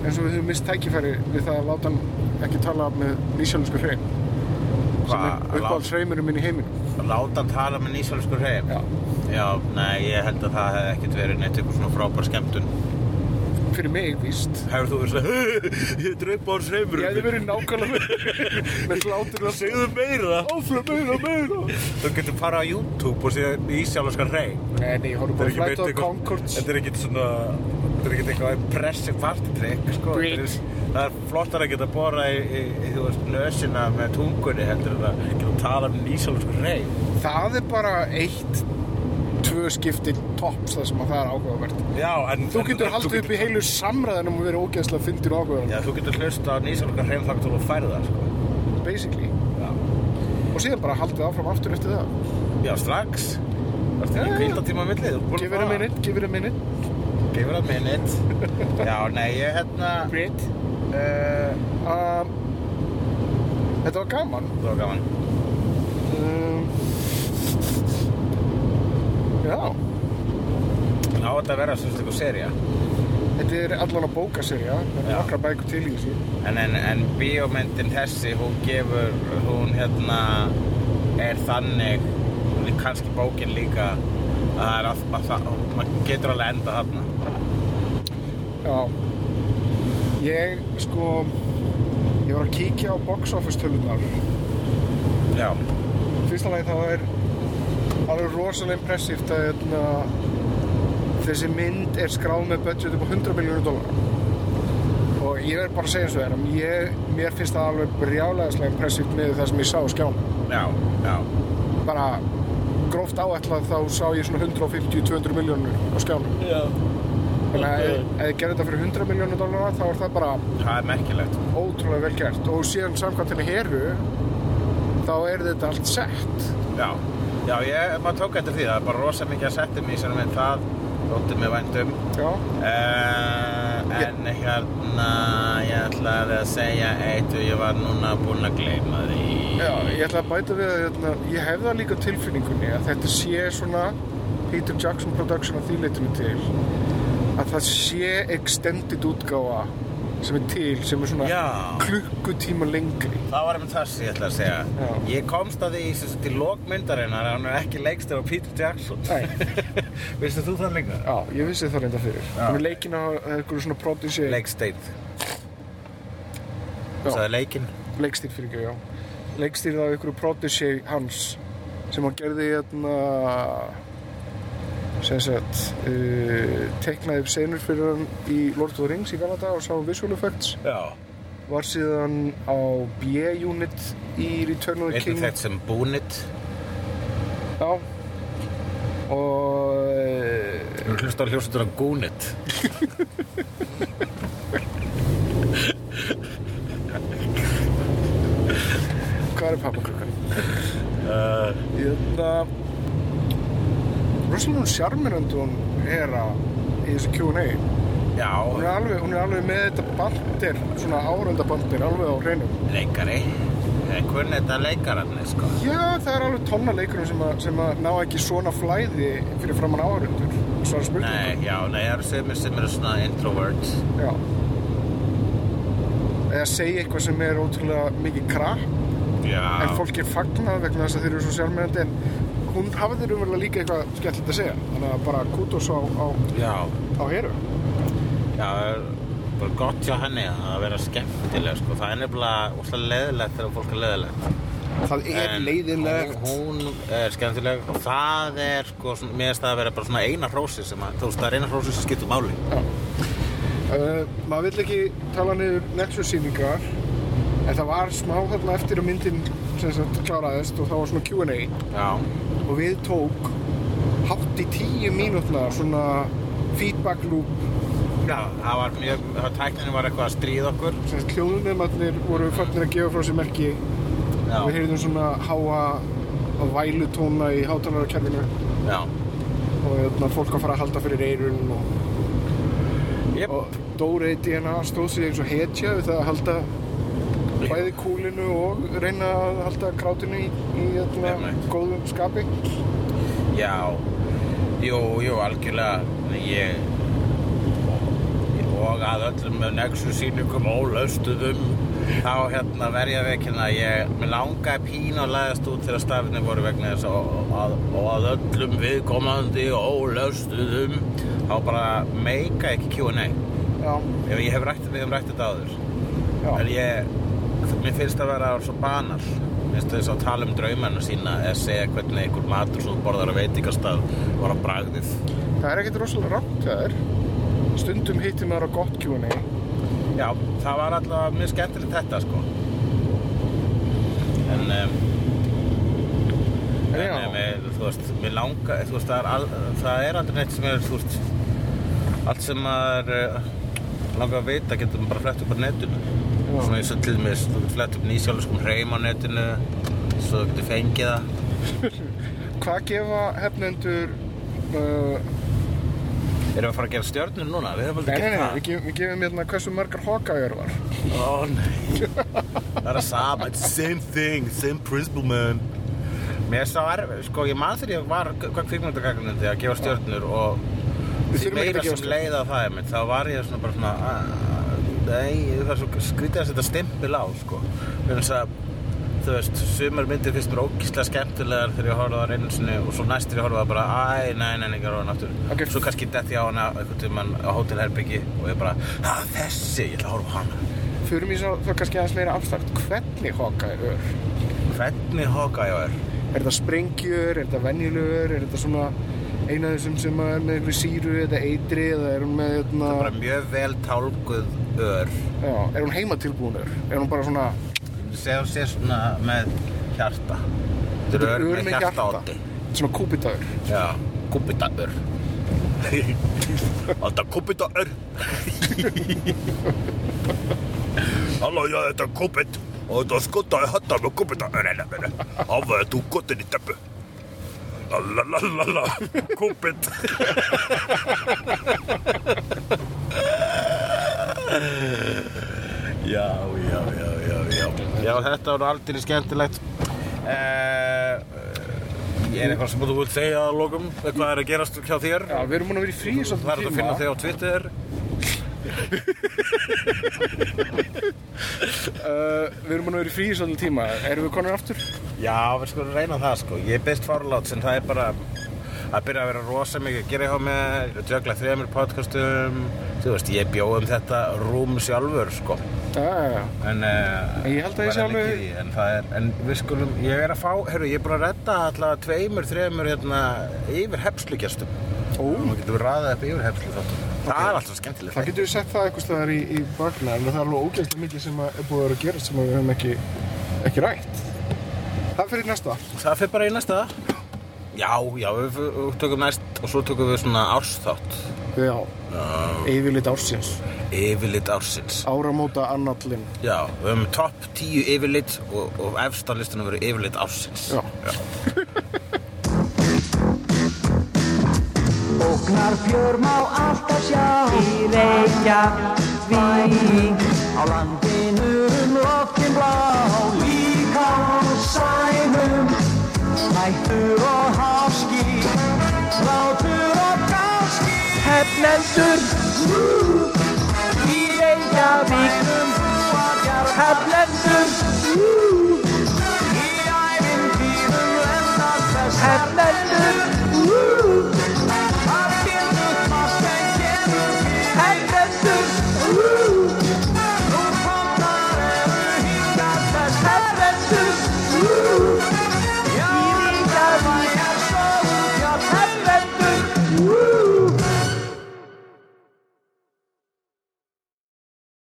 B: eins og við höfum mist tækifæri við það að láta hann ekki tala með nýsjálfsku hrein. Sem
C: Hvað,
B: er
C: að láta-
B: uppáhalds hreimurum minn í heiminum.
C: Láta hann tala með nýsvölskur heim.
B: Já.
C: Já, nei, ég held að það hefði ekkert verið neitt eitthvað svona frábær skemmtun.
B: Fyrir mig, víst.
C: Hefur þú verið svona, ég draup á hans heimur.
B: Ég hefði verið nákvæmlega með hlátur og
C: Segðu meira.
B: áfram meira, meira.
C: Þú getur farið á YouTube og séð Ísjálfskan rey.
B: Nei, nei, ég horfði bara flætt á Concords
C: Þetta er ekkert svona, þetta er ekkert eitthvað impressive partytrick, sko. Þetta er-
B: Bricks.
C: Það er flottar að geta bora í, í, í þú veist, nösina með tungunni heldur en að geta tala um Ísjálfskan rey.
B: Það er bara eitt, tvö skipti tops það sem að það er áhugavert
C: Já, en...
B: Þú getur haldið upp í heilu samræðanum og verið ógeðslega fyndir og áhugavert
C: Já, þú getur hlusta á Ísjálfskan rey þar til þú færð það, sko.
B: basically
C: Já.
B: og síðan bara haldið áfram aftur eftir það
C: Já, strax. Það er
B: Já, já.
C: ekki kvildatíma að millið, þú ert búin
B: Give it a minute, give it a minute
C: Give it a minute. Já, nei, ég hérna...
B: Great
C: Uh,
B: um, Þetta var gaman
C: það var gaman.
B: um, Já,
C: Á þetta að vera sem sagt eitthvað serja.
B: þetta er allan að bókaserja það er
C: Já.
B: nokkra bækur til í þessu
C: En, en, en bíómyndin þessi, hún gefur, hún hérna er þannig, hún er kannski bókin líka, að það er að, að það, maður getur alveg enda þarna.
B: Já Ég sko Ég var að kíkja á box office tölunar
C: Já,
B: Fyrsta lagi þá er alveg rosalega impressíft að hérna, þessi mynd er skráð með budget upp á 100 miljónu dólar og ég er bara að segja eins og það er að ég, mér finnst það alveg brjálæðislega impressíft með það sem ég sá á skjánum
C: já, já,
B: bara gróft áætlað þá sá ég svona 150-200 miljónur á skjánum
C: já.
B: þannig að ef ef þið gerir þetta fyrir 100 miljónu dólar þá er það bara
C: Það er merkilegt.
B: ótrúlega vel gert og síðan samkvæmt henni heru þá er þetta allt sett
C: Já, já, ég, maður tók eftir því, það er bara rosa mikið að setja mig í sem mynd það, þótti mig væntum.
B: já,
C: Uh, en hérna, ég ætlaði að segja eitt og ég var núna búinn að gleyma því.
B: Já, ég ætla að bæta við að hérna, ég hef það líka á tilfinningunni að þetta sé svona Peter Jackson production að því leytinu til að það sé extended útgáfa sem er til, sem er svona
C: Já.
B: klukkutíma lengri
C: Það var einmitt það sem ég ætla að segja.
B: Já.
C: Ég komst að því sem sagt, í lokmyndarinnar að hann er ekki leikstur á Peter Jackson. Vistu þú það líka?
B: Já, ég vissi það reynda fyrir
C: Já.
B: Hún er leikin á einhverju svona producer
C: Leiksteinn.
B: Já.
C: Það er leikinn.
B: leikstýr fyrir ekki, já leikstýrið af ykkur protégé hans sem hann gerði hérna sem sagt uh, teiknaði upp senur fyrir hann í Lord of the Rings í Canada og sá um visual effects
C: Já.
B: var síðan á B-unit í Return of the
C: Einnig
B: King
C: þett sem Búnit.
B: já og eh,
C: Þú hlustar hljóstundur á Gúnit.
B: hvað er pappakrukkan? Hérna rosalega sjarmirandi hún er að í þessu Q&A
C: Já.
B: Hún er alveg, hún er alveg með þetta bandir, svona árenda bandir, alveg á hreinum.
C: Leikari. Ég kunni þetta leikararni, sko.
B: Já, það er alveg tonna leikurum sem, að- sem að ná ekki svona flæði fyrir framann áhörendur. Svara spurningu.
C: Nei, já, nei, það eru sömur sem eru svona introverts.
B: Já. Eða segja eitthvað sem er ótrúlega mikið krap,
C: Já.
B: en fólk er fagnað vegna þess að þeir eru svo sjálfmyndandi, en hún hafði raunverulega líka eitthvað skemmtilegt að segja. Þannig að bara kútos á, á,
C: Já.
B: á heru.
C: Já, það er bara gott hjá henni að vera skemmtileg, sko. Það er nefnilega úrslega leðilegt þegar fólk er leðilegt.
B: Það er leiðinlegt.
C: Hún, hún er skemmtileg og það er, sko, svona- mér finnst það að vera bara svona eina hrósi sem að, þú veist, það er eina hrósi sem skiptur máli.
B: Uh, maður vill ekki tala niður Netflix-sýningar en það var smá þarna eftir að myndin sem sagt kláraðist og það var svona Q&A
C: Já.
B: og við tók hátt í tíu mínútna svona feedback loop
C: Já, það var mjög, það tækninni var eitthvað að stríða okkur.
B: sem sagt hljóðunemarnir voru farnir að gefa frá sér merki
C: Já.
B: við heyrðum svona háa og vælutóna í hátalarakerfinu
C: Já.
B: og hérna, fólk að fara að halda fyrir eyrun og,
C: Jep.
B: og Dórei DNA stóð sig eins og hetja við það að halda bæði kúlinu og reyna að halda krátinu í, í öllna,
C: Einmitt.
B: góðum skapi
C: Já, jú, jú, algjörlega ég og að öllum með nexus sýningum ólaustuðum þá hérna verja veikina ég með langaði pín að læðast út þegar stafnir voru vegna þess og, og, og að öllum viðkomandi ólaustuðum þá bara meika ekki Q&A
B: Já,
C: ef ég hef rætt, við hefum rætt þetta áður en
B: já,
C: ég, mér finnst það að vera svo banal Mér finnst þess að tala um draumana sína eða segja hvernig einhver matur sem þú borðar á veitingastað var á bragðið
B: það er ekkert rosalega rámt það er stundum hittir maður á gott Q&A
C: Já, það var alltaf mjög skemmtilegt þetta sko En, um,
B: En já.
C: en um, þú veist, mér langa þú veist, það er, al, það er aldrei neitt sem er þú veist, allt sem maður uh, langar að vita getur maður bara flett upp á netinu
B: Já.
C: svona eins og til dæmis, þú getur flett upp nýsjáluskum hreim á netinu svo þú getur fengið það
B: Hvað gefa hefnendur uh,
C: Erum við að fara að gera stjörnur núna? Við hefum
B: Nei,
C: aldrei
B: nei, nei,
C: gert
B: við, gef, við gefum hérna hversu margar Hawkeye-ar var
C: það. Ó, nei. það er að sama. It's the same thing, same principle, man. Mér sá erfið, sko, ég man þegar ég var hvað kvikmyndagagnandi að gefa stjörnur og
B: Við
C: því
B: þurfum ekki að
C: meira
B: gefa
C: sem
B: stjörnur.
C: leiða það er mitt, þá var ég svona bara svona, "Ah, nei, það er svo skrítið að setja stimpil á, sko. Þannig að, þú veist, sumar myndir finnst mér ógíslega skemmtilegar þegar ég horfði á það einu sinni og svo næst þegar ég horfði á það bara, æ, nei, nei, nei, ekki ráðan aftur.
B: Ok.
C: Svo kannski detti ég á hana einhvern tímann á hótelherbyggi og ég bara, að þessi, ég ætla að horfa á hana.
B: Fyrir mér svo, þá kannski aðeins meira abstrakt hvernig Hawkeye er
C: Hvernig hoka ég er?
B: Er þetta sprengjur, er þetta venjulegur, er þetta svona eina af þessum sem er með einhverju síru eða eitri eða er hún með hérna...
C: Bara mjög vel tálguð ör.
B: Já, er hún heimatilbúinur? Er hún bara svona,
C: Segðu sér svona með hjarta. Þetta er ör með hjartaáti.
B: svona kúpitaður?
C: Já, kúpitaur Alltaf kúpitaur Halló, já, þetta er kúpit og þetta skotaði hattar með kúpitaur henni minni Afæði þú gotin í teppu Lalalala, kúpit Já, já, já, já, já Já, þetta var aldrei skemmtilegt. Uh, ég er eitthvað sem þú vilt segja að lokum, hvað er að gerast hjá þér?
B: Já, við erum búin að vera í frí
C: Það er hægt að finna þig á Twitter.
B: Uh, við erum búin að vera í frí svolítið tíma. Erum við konur aftur?
C: Já, við skulum reyna það sko. Ég er best farlátt, en það er bara að byrja að vera rosa mikið að gera hjá mér, ég er að djögla þremur podcastum, þú veist, ég bjóð um þetta rúm sjálfur sko.
B: Já, já, já.
C: En, uh,
B: En ég held að ég sé
C: verða
B: alveg-
C: mikið í, en, það er, en við skulum, ég er að fá, herru, ég er búin að redda allavega tveimur, þreimur hérna, yfir hefslugestum.
B: Ó.
C: Nú getum við raðað upp yfir hefslu þáttum. Það er alltaf skemmtilegt.
B: Það getur við sett það eitthvað staðar í, í bakna, en það er alveg ógæðslega mikið sem að er búið að vera að gera sem að við höfum ekki, ekki rætt. Það fyrir næsta.
C: Það fyrir bara í næsta. Já, já, við við tökum næst og svo tökum við svona ársþátt.
B: Já. Yfirlit ársins.
C: Yfirlit ársins.
B: Áramóta annallinn.
C: Já, við höfum topp 10 yfirlit og, og efst á listanum verður yfirlit ársins.
B: Já.
G: Ógnar fjör má alltaf sjá Í Reykjavík Á landinu um loftin blá Líka á sænum Nættur og háski Látur og gáski Hefnendur Í Reykjavík Hefnendur Í ævintýrum lendar þess Hefnendur Að byrjum fast en gerum Hefnendur Nú komnar eru hingar þess Hefnendur